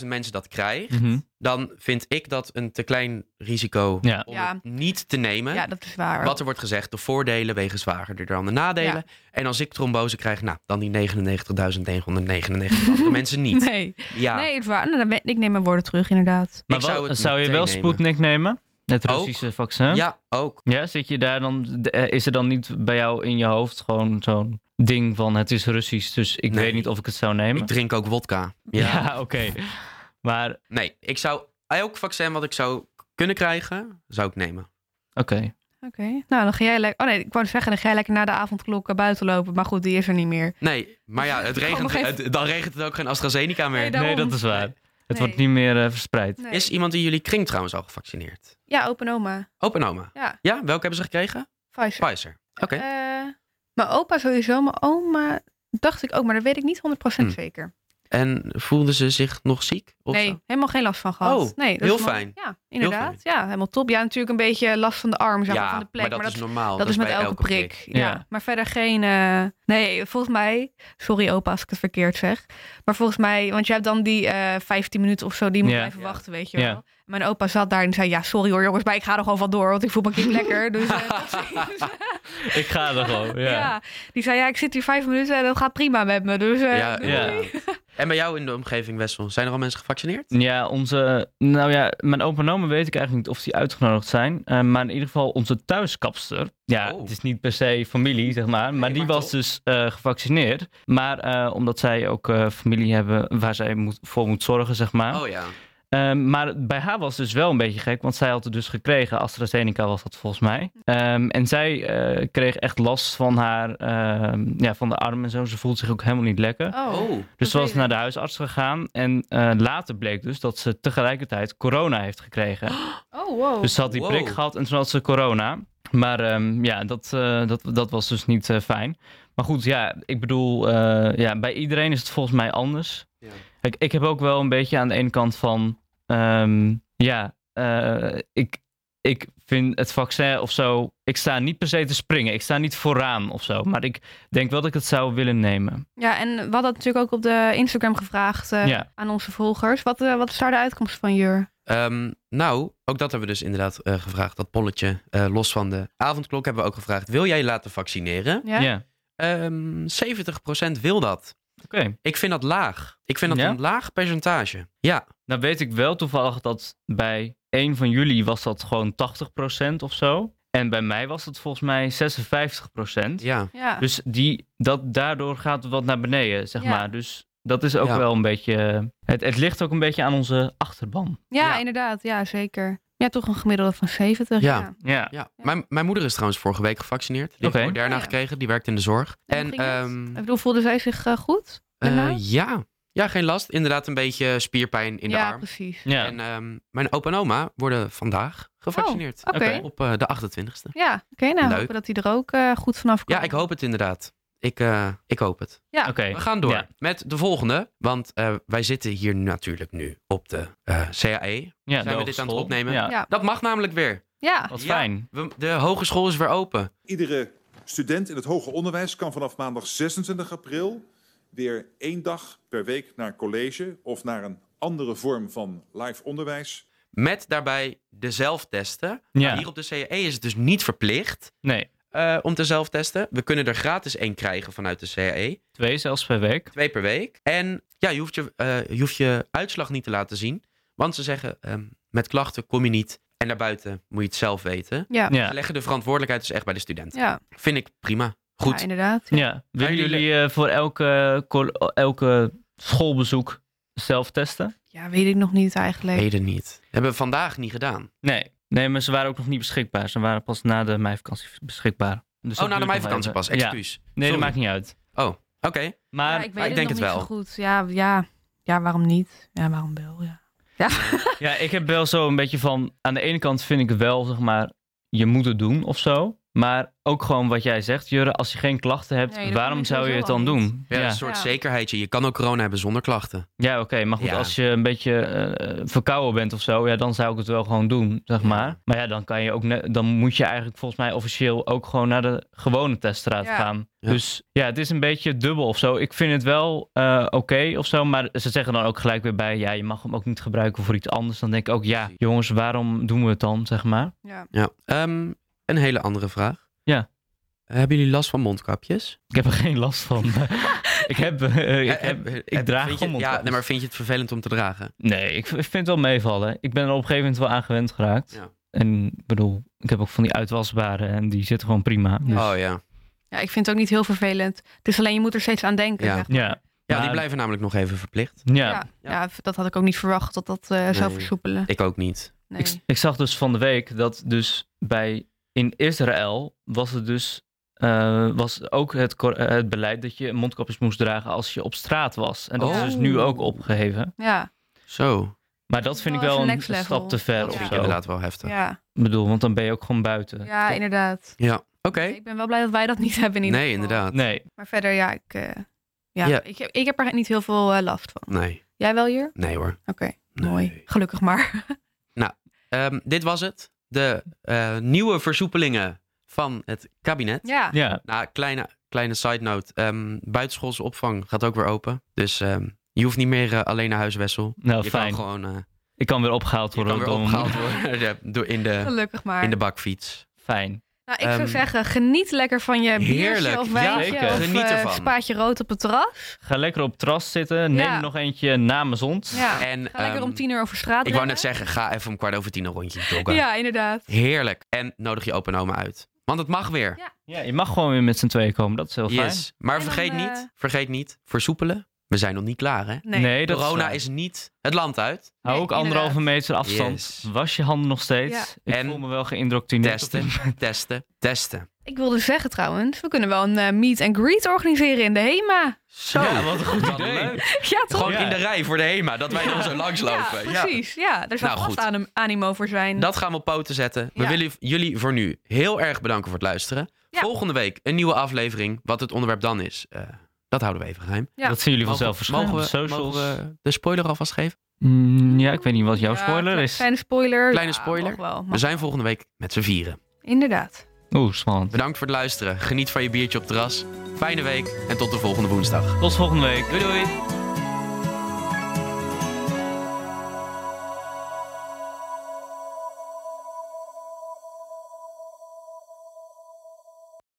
[SPEAKER 3] 100.000 mensen dat krijgt,
[SPEAKER 4] Mhm.
[SPEAKER 3] dan vind ik dat een te klein risico
[SPEAKER 4] Ja.
[SPEAKER 3] om
[SPEAKER 2] Ja.
[SPEAKER 3] het niet te nemen.
[SPEAKER 2] Ja, dat is waar.
[SPEAKER 3] Wat er wordt gezegd, de voordelen wegen zwaarder dan de nadelen.
[SPEAKER 2] Ja.
[SPEAKER 3] En als ik trombose krijg, nou, dan die 99.999 andere mensen niet.
[SPEAKER 2] Nee,
[SPEAKER 3] Ja,
[SPEAKER 2] nee, het is waar. Nou, dan ben- ik neem mijn woorden terug, inderdaad.
[SPEAKER 4] Maar
[SPEAKER 3] Ik zou
[SPEAKER 4] wel-
[SPEAKER 3] het
[SPEAKER 4] zou je
[SPEAKER 3] meteen
[SPEAKER 4] wel
[SPEAKER 3] nemen.
[SPEAKER 4] Sputnik nemen? Het
[SPEAKER 3] Ook.
[SPEAKER 4] Russische vaccin?
[SPEAKER 3] ja ook.
[SPEAKER 4] Ja, zit je daar dan, de- eh, is er dan niet bij jou in je hoofd gewoon zo'n ding van het is Russisch, dus ik
[SPEAKER 3] Nee.
[SPEAKER 4] weet niet of ik het zou nemen?
[SPEAKER 3] Ik drink ook wodka. Ja.
[SPEAKER 4] ja, oké. Maar
[SPEAKER 3] Nee, ik zou elk vaccin wat ik zou kunnen krijgen, zou ik nemen.
[SPEAKER 4] Oké.
[SPEAKER 2] Oké. Nou, dan ga jij lekker. Oh nee, ik wou zeggen, dan ga jij lekker na de avondklok eh, buiten lopen. Maar goed, die is er niet meer.
[SPEAKER 3] Nee, maar ja, het
[SPEAKER 2] Oh,
[SPEAKER 3] regent,
[SPEAKER 2] nog even.
[SPEAKER 3] het- dan regent het ook geen AstraZeneca meer.
[SPEAKER 2] Nee, daarom.
[SPEAKER 4] Nee, dat is waar.
[SPEAKER 2] Nee.
[SPEAKER 4] Het wordt niet meer eh, verspreid.
[SPEAKER 2] Nee.
[SPEAKER 3] Is iemand in jullie kring trouwens al gevaccineerd?
[SPEAKER 2] Ja, open oma.
[SPEAKER 3] Opa en oma.
[SPEAKER 2] Ja,
[SPEAKER 3] Ja, welke hebben ze gekregen?
[SPEAKER 2] Pfizer.
[SPEAKER 3] Pfizer. Oké.
[SPEAKER 2] Eh, mijn opa sowieso, mijn oma dacht ik ook, maar dat weet ik niet 100%
[SPEAKER 3] Hmm.
[SPEAKER 2] zeker.
[SPEAKER 3] En voelden ze zich nog ziek? Of
[SPEAKER 2] nee,
[SPEAKER 3] zo?
[SPEAKER 2] helemaal geen last van gehad.
[SPEAKER 3] Oh,
[SPEAKER 2] nee, dat
[SPEAKER 3] heel
[SPEAKER 2] is mooi.
[SPEAKER 3] fijn.
[SPEAKER 2] Ja, inderdaad. Ja, helemaal top. Ja, natuurlijk een beetje last van de arm, zeg maar, van de plek.
[SPEAKER 3] maar dat is normaal.
[SPEAKER 2] dat is met
[SPEAKER 3] bij
[SPEAKER 2] elke, prik. Ja.
[SPEAKER 4] Ja.
[SPEAKER 2] maar verder geen. eh, nee, volgens mij. Sorry, opa, als ik het verkeerd zeg. Maar volgens mij, want je hebt dan die eh 15 minuten of zo die je moet
[SPEAKER 4] Ja.
[SPEAKER 2] blijven
[SPEAKER 3] Ja.
[SPEAKER 2] wachten, weet je
[SPEAKER 4] Ja.
[SPEAKER 2] wel. En Mijn opa zat daar en zei: Ja, sorry hoor, jongens, maar ik ga er gewoon van door, want ik voel me kind lekker. Dus eh, tot ziens.
[SPEAKER 4] Ik ga er gewoon.
[SPEAKER 2] ja.
[SPEAKER 4] Ja.
[SPEAKER 2] die zei: Ja, ik zit hier vijf minuten en dat gaat prima met me. Dus eh,
[SPEAKER 3] Ja,
[SPEAKER 2] doei.
[SPEAKER 4] ja.
[SPEAKER 3] inderdaad. En bij jou in de omgeving, Wessel, zijn er al mensen gevaccineerd?
[SPEAKER 4] Ja, onze. Nou ja, mijn opa en oma weet ik eigenlijk niet of die uitgenodigd zijn. eh, maar in ieder geval onze thuiskapster. Ja,
[SPEAKER 3] Oh.
[SPEAKER 4] het is niet per se familie, zeg maar. Maar
[SPEAKER 3] Nee,
[SPEAKER 4] die
[SPEAKER 3] maar
[SPEAKER 4] was
[SPEAKER 3] toch.
[SPEAKER 4] dus eh, gevaccineerd. Maar eh, omdat zij ook eh, familie hebben waar zij moet, voor moet zorgen, zeg maar.
[SPEAKER 3] Oh ja.
[SPEAKER 4] Ehm, maar bij haar was het dus wel een beetje gek, want zij had het dus gekregen. AstraZeneca was dat volgens mij. Ehm, en zij eh, kreeg echt last van haar, ehm, ja, van de arm en zo. Ze voelde zich ook helemaal niet lekker.
[SPEAKER 2] Oh,
[SPEAKER 3] Oh.
[SPEAKER 4] dus ze was
[SPEAKER 2] vervelend.
[SPEAKER 4] naar de huisarts gegaan en eh, later bleek dus dat ze tegelijkertijd corona heeft gekregen.
[SPEAKER 2] Oh, wow.
[SPEAKER 4] dus ze had die
[SPEAKER 3] Wow.
[SPEAKER 4] prik gehad en toen had ze corona. Maar ehm, ja, dat, eh, dat, dat was dus niet eh, fijn. Maar goed, ja, ik bedoel, eh, ja, bij iedereen is het volgens mij anders.
[SPEAKER 3] Ja.
[SPEAKER 4] Kijk, ik heb ook wel een beetje aan de ene kant van, ehm, ja, eh, ik, ik vind het vaccin of zo, ik sta niet per se te springen. Ik sta niet vooraan of zo. Maar ik denk wel dat ik het zou willen nemen.
[SPEAKER 2] Ja, en we hadden het natuurlijk ook op de Instagram gevraagd eh,
[SPEAKER 4] Ja.
[SPEAKER 2] aan onze volgers. Wat, eh, wat is daar de uitkomst van, Jur?
[SPEAKER 3] Ehm, nou, ook dat hebben we dus inderdaad eh, gevraagd. Dat polletje, eh, los van de avondklok, hebben we ook gevraagd. Wil jij je laten vaccineren?
[SPEAKER 2] Ja?
[SPEAKER 4] Ja.
[SPEAKER 3] Ehm 70% wil dat.
[SPEAKER 4] Oké.
[SPEAKER 3] Ik vind dat laag. Ik vind dat
[SPEAKER 4] Ja?
[SPEAKER 3] een laag percentage. Ja.
[SPEAKER 4] Nou weet ik wel toevallig dat bij een van jullie was dat gewoon 80% of zo. En bij mij was het volgens mij 56%.
[SPEAKER 3] Ja.
[SPEAKER 2] Ja.
[SPEAKER 4] Dus die, dat, daardoor gaat het wat naar beneden, zeg
[SPEAKER 2] Ja.
[SPEAKER 4] maar. Dus dat is ook
[SPEAKER 3] Ja.
[SPEAKER 4] wel een beetje... Het, het ligt ook een beetje aan onze achterban.
[SPEAKER 2] Ja,
[SPEAKER 3] Ja.
[SPEAKER 2] inderdaad. Ja, zeker. Ja, toch een gemiddelde van 70.
[SPEAKER 3] Ja.
[SPEAKER 2] Ja.
[SPEAKER 4] Ja.
[SPEAKER 3] Ja, mijn, mijn moeder is trouwens vorige week gevaccineerd. Die
[SPEAKER 4] Oké.
[SPEAKER 3] heeft Moderna
[SPEAKER 2] Oh ja.
[SPEAKER 3] gekregen, die werkt in de zorg.
[SPEAKER 2] En
[SPEAKER 3] En,
[SPEAKER 2] hoe ging het?
[SPEAKER 3] ehm,
[SPEAKER 2] Ik bedoel, voelde zij zich eh, goed? daarna?
[SPEAKER 3] eh, ja. ja, geen last. Inderdaad een beetje spierpijn in
[SPEAKER 2] ja,
[SPEAKER 3] de arm.
[SPEAKER 2] precies.
[SPEAKER 4] Ja.
[SPEAKER 3] En ehm, mijn opa en oma worden vandaag gevaccineerd.
[SPEAKER 2] Oh, Oké.
[SPEAKER 4] Oké.
[SPEAKER 3] Op eh, de 28e.
[SPEAKER 2] Ja, oké. nou,
[SPEAKER 3] Leuk.
[SPEAKER 2] hopen we dat hij er ook eh, goed vanaf komt.
[SPEAKER 3] Ja, ik hoop het inderdaad. Ik, eh, ik hoop het.
[SPEAKER 2] Ja.
[SPEAKER 4] Oké.
[SPEAKER 3] We gaan door
[SPEAKER 4] Ja.
[SPEAKER 3] met de volgende. Want eh, wij zitten hier natuurlijk nu op de eh,
[SPEAKER 4] Ja,
[SPEAKER 3] CAE. Zijn
[SPEAKER 4] de
[SPEAKER 3] we dit aan het
[SPEAKER 4] hogeschool.
[SPEAKER 3] opnemen?
[SPEAKER 4] Ja.
[SPEAKER 2] Ja.
[SPEAKER 3] Dat mag namelijk weer.
[SPEAKER 2] Ja,
[SPEAKER 4] Wat
[SPEAKER 3] Ja.
[SPEAKER 4] fijn.
[SPEAKER 3] We- de hogeschool is weer open.
[SPEAKER 5] Iedere student in het hoger onderwijs kan vanaf maandag 26 april weer één dag per week naar college of naar een andere vorm van live onderwijs.
[SPEAKER 3] Met daarbij de zelftesten. Nou,
[SPEAKER 4] Ja.
[SPEAKER 3] Hier op de CAE is het dus niet verplicht
[SPEAKER 4] Nee,
[SPEAKER 3] eh, om te zelftesten. We kunnen er gratis één krijgen vanuit de CAE.
[SPEAKER 4] twee zelfs per week.
[SPEAKER 3] Twee per week. En ja, je hoeft je, eh, je, hoeft je uitslag niet te laten zien. Want ze zeggen, ehm, met klachten kom je niet. En daarbuiten moet je het zelf weten.
[SPEAKER 2] ja. ja.
[SPEAKER 3] Ze
[SPEAKER 4] Ja.
[SPEAKER 3] leggen de verantwoordelijkheid dus echt bij de student.
[SPEAKER 2] ja.
[SPEAKER 3] Vind ik prima. Goed.
[SPEAKER 2] inderdaad. Ja.
[SPEAKER 4] ja. Willen
[SPEAKER 3] jullie-
[SPEAKER 4] jullie eh, voor elke, col- elke schoolbezoek zelf testen?
[SPEAKER 2] Ja, weet ik nog niet eigenlijk.
[SPEAKER 3] Heden niet. Hebben we vandaag niet gedaan.
[SPEAKER 4] Nee. Nee, maar ze waren ook nog niet beschikbaar. Ze waren pas na de meivakantie beschikbaar. Dus
[SPEAKER 3] oh, na de
[SPEAKER 4] mijn
[SPEAKER 3] meivakantie pas. Excuus.
[SPEAKER 4] Nee,
[SPEAKER 3] Sorry.
[SPEAKER 4] dat maakt niet uit.
[SPEAKER 3] Oké.
[SPEAKER 4] Maar
[SPEAKER 2] ja, ik weet
[SPEAKER 3] ik
[SPEAKER 2] het
[SPEAKER 3] denk het
[SPEAKER 2] nog niet
[SPEAKER 3] wel.
[SPEAKER 2] zo goed. Ja, ja. ja, waarom niet? Ja, waarom wel? Ja.
[SPEAKER 4] Ja, ik heb wel zo een beetje van. Aan de ene kant vind ik wel, zeg maar, je moet het doen of zo. Maar ook gewoon wat jij zegt, Jurre, als je geen klachten hebt,
[SPEAKER 2] Nee, dat
[SPEAKER 4] waarom
[SPEAKER 2] moet je
[SPEAKER 4] zou je het
[SPEAKER 2] sowieso
[SPEAKER 4] dan
[SPEAKER 2] al
[SPEAKER 4] doen?
[SPEAKER 3] Ja,
[SPEAKER 4] Ja,
[SPEAKER 3] Een soort
[SPEAKER 2] Ja.
[SPEAKER 3] zekerheidje. Je kan ook corona hebben zonder klachten.
[SPEAKER 4] ja oké, maar goed,
[SPEAKER 3] Ja.
[SPEAKER 4] als je een beetje eh, verkouden bent of zo, ja, dan zou ik het wel gewoon doen, zeg
[SPEAKER 3] Ja.
[SPEAKER 4] maar. Maar ja, dan, kan je ook ne- dan moet je eigenlijk volgens mij officieel ook gewoon naar de gewone teststraat
[SPEAKER 2] Ja.
[SPEAKER 4] gaan.
[SPEAKER 3] Ja.
[SPEAKER 4] Dus ja, het is een beetje dubbel of zo. Ik vind het wel eh, oké of zo, maar ze zeggen dan ook gelijk weer bij, ja, je mag hem ook niet gebruiken voor iets anders. Dan denk ik ook, ja, jongens, waarom doen we het dan, zeg maar?
[SPEAKER 2] Ja.
[SPEAKER 3] Ja. Ehm, een hele andere vraag.
[SPEAKER 4] Ja.
[SPEAKER 3] Hebben jullie last van mondkapjes?
[SPEAKER 4] Ik heb er geen last van. ik heb, eh, ik,
[SPEAKER 3] Eh,
[SPEAKER 4] heb,
[SPEAKER 3] eh,
[SPEAKER 4] ik
[SPEAKER 3] eh,
[SPEAKER 4] draag
[SPEAKER 3] vind
[SPEAKER 4] gewoon
[SPEAKER 3] je,
[SPEAKER 4] mondkapjes.
[SPEAKER 3] Ja, nee, maar vind je het vervelend om te dragen?
[SPEAKER 4] Nee, ik v- ik vind het wel meevallen. Ik ben er op een gegeven moment wel aan gewend geraakt.
[SPEAKER 3] Ja.
[SPEAKER 4] En ik bedoel, ik heb ook van die uitwasbare en die zitten gewoon prima. Dus,
[SPEAKER 2] Ja.
[SPEAKER 3] Oh ja.
[SPEAKER 2] ja, ik vind het ook niet heel vervelend. Het is alleen, je moet er steeds aan denken.
[SPEAKER 3] Ja.
[SPEAKER 2] zeg maar.
[SPEAKER 4] ja.
[SPEAKER 3] Ja, Ja, die
[SPEAKER 4] Maar-
[SPEAKER 3] blijven namelijk nog even verplicht.
[SPEAKER 4] Ja.
[SPEAKER 2] Ja, ja. dat had ik ook niet verwacht dat dat eh, zou
[SPEAKER 3] Nee.
[SPEAKER 2] versoepelen.
[SPEAKER 3] Ik ook niet.
[SPEAKER 2] Nee.
[SPEAKER 4] Ik, ik zag dus van de week dat dus bij in Israël was het dus eh, was ook het, cor- eh, het beleid dat je mondkapjes moest dragen als je op straat was. En dat is dus nu
[SPEAKER 3] Oh.
[SPEAKER 4] ook opgeheven.
[SPEAKER 2] Ja,
[SPEAKER 3] Zo.
[SPEAKER 4] Maar dat vind ik
[SPEAKER 2] Wel
[SPEAKER 4] wel
[SPEAKER 2] Oh, even
[SPEAKER 4] een
[SPEAKER 2] next level.
[SPEAKER 4] stap te ver
[SPEAKER 2] Ja.
[SPEAKER 3] Dat
[SPEAKER 4] of
[SPEAKER 3] vind ik
[SPEAKER 4] zo.
[SPEAKER 3] inderdaad wel heftig. Ja.
[SPEAKER 2] ja,
[SPEAKER 4] Ik bedoel, want dan ben je ook gewoon buiten.
[SPEAKER 2] ja inderdaad.
[SPEAKER 3] Oké.
[SPEAKER 2] Ik ben wel blij dat wij dat niet hebben in ieder
[SPEAKER 3] Nee,
[SPEAKER 2] geval.
[SPEAKER 3] inderdaad.
[SPEAKER 4] Nee,
[SPEAKER 2] Maar verder, ja, ik, eh, ja,
[SPEAKER 3] Ja.
[SPEAKER 2] Ik, heb, ik heb er niet heel veel eh, last van.
[SPEAKER 3] Nee.
[SPEAKER 2] Jij wel, Jur?
[SPEAKER 3] Nee hoor.
[SPEAKER 2] Oké,
[SPEAKER 3] Nee.
[SPEAKER 2] mooi. Gelukkig maar.
[SPEAKER 3] Ehm, dit was het. De eh, nieuwe versoepelingen van het kabinet.
[SPEAKER 2] ja.
[SPEAKER 4] ja.
[SPEAKER 3] Nou, kleine, kleine side note. Ehm, buitenschoolse opvang gaat ook weer open. Dus ehm, je hoeft niet meer eh, alleen naar huis, Wessel.
[SPEAKER 4] Nou,
[SPEAKER 3] je
[SPEAKER 4] fijn.
[SPEAKER 3] kan gewoon eh,
[SPEAKER 4] Ik kan weer opgehaald
[SPEAKER 3] je
[SPEAKER 4] worden.
[SPEAKER 3] kan weer
[SPEAKER 4] door een-
[SPEAKER 3] opgehaald worden ja, door in, de,
[SPEAKER 2] Gelukkig maar.
[SPEAKER 3] in de bakfiets.
[SPEAKER 4] Fijn.
[SPEAKER 2] Nou, ik zou
[SPEAKER 3] Ehm,
[SPEAKER 2] zeggen, geniet lekker van je biertje
[SPEAKER 3] Heerlijk,
[SPEAKER 2] of
[SPEAKER 3] ja,
[SPEAKER 2] wijntje
[SPEAKER 4] zeker.
[SPEAKER 2] of
[SPEAKER 3] Geniet
[SPEAKER 2] eh,
[SPEAKER 3] ervan.
[SPEAKER 2] spaatje rood op het terras.
[SPEAKER 4] Ga lekker op het terras zitten. Neem
[SPEAKER 2] Ja.
[SPEAKER 4] er nog eentje namens ons.
[SPEAKER 2] Ja.
[SPEAKER 3] En,
[SPEAKER 2] Ga lekker
[SPEAKER 3] ehm,
[SPEAKER 2] om tien uur over straat
[SPEAKER 3] Ik wou
[SPEAKER 2] rennen.
[SPEAKER 3] net zeggen, ga even om kwart over tien een rondje joggen.
[SPEAKER 2] Ja, inderdaad.
[SPEAKER 3] Heerlijk. En nodig je opa en oma uit. Want het mag weer.
[SPEAKER 2] Ja,
[SPEAKER 4] Ja, je mag gewoon weer met z'n tweeën komen. Dat is heel fijn.
[SPEAKER 3] yes. Maar
[SPEAKER 2] En dan,
[SPEAKER 3] vergeet
[SPEAKER 2] eh,
[SPEAKER 3] niet, vergeet niet, versoepelen. We zijn nog niet klaar, hè?
[SPEAKER 2] Nee.
[SPEAKER 4] dat is
[SPEAKER 3] Corona
[SPEAKER 4] waar.
[SPEAKER 3] is niet het land uit.
[SPEAKER 4] Hou
[SPEAKER 2] Nee,
[SPEAKER 4] ook anderhalve
[SPEAKER 2] inderdaad.
[SPEAKER 4] meter afstand.
[SPEAKER 3] Yes.
[SPEAKER 4] Was je handen nog steeds.
[SPEAKER 2] Ja.
[SPEAKER 4] Ik
[SPEAKER 3] En
[SPEAKER 4] voel me wel geïndoctrineerd. op dit
[SPEAKER 3] Testen,
[SPEAKER 4] moment.
[SPEAKER 3] testen, testen.
[SPEAKER 2] Ik wilde zeggen trouwens, we kunnen wel een eh, meet and greet organiseren in de HEMA.
[SPEAKER 3] Zo.
[SPEAKER 4] Ja, wat een goed idee.
[SPEAKER 3] leuk.
[SPEAKER 2] ja, toch?
[SPEAKER 3] Gewoon
[SPEAKER 4] Ja.
[SPEAKER 3] in de rij voor de HEMA, dat wij dan zo
[SPEAKER 2] ja,
[SPEAKER 3] langslopen. Ja.
[SPEAKER 2] precies. Ja, daar zou
[SPEAKER 3] Nou,
[SPEAKER 2] vast
[SPEAKER 3] goed.
[SPEAKER 2] anim- animo voor zijn.
[SPEAKER 3] Dat gaan we op poten zetten. We
[SPEAKER 2] Ja.
[SPEAKER 3] willen jullie voor nu heel erg bedanken voor het luisteren.
[SPEAKER 2] Ja.
[SPEAKER 3] Volgende week een nieuwe aflevering. Wat het onderwerp dan is, eh, dat houden we even geheim.
[SPEAKER 2] Ja.
[SPEAKER 4] Dat zien jullie vanzelf
[SPEAKER 3] Mogen-
[SPEAKER 4] verschijnen op de
[SPEAKER 3] mogen we,
[SPEAKER 4] socials.
[SPEAKER 3] mogen we de spoiler alvast geven?
[SPEAKER 4] Mm, ja, ik weet niet wat jouw
[SPEAKER 2] Ja,
[SPEAKER 4] spoiler
[SPEAKER 2] kle-
[SPEAKER 4] is.
[SPEAKER 2] Kleine spoiler.
[SPEAKER 3] Kleine
[SPEAKER 2] Ja,
[SPEAKER 3] spoiler. Dus-
[SPEAKER 2] mag wel,
[SPEAKER 3] We
[SPEAKER 2] mag-
[SPEAKER 3] zijn volgende week met z'n vieren.
[SPEAKER 2] Inderdaad.
[SPEAKER 4] Oeh, spannend.
[SPEAKER 3] Bedankt voor het luisteren. Geniet van je biertje op het terras. Fijne week en tot de volgende woensdag.
[SPEAKER 4] Tot volgende week.
[SPEAKER 3] Doei doei!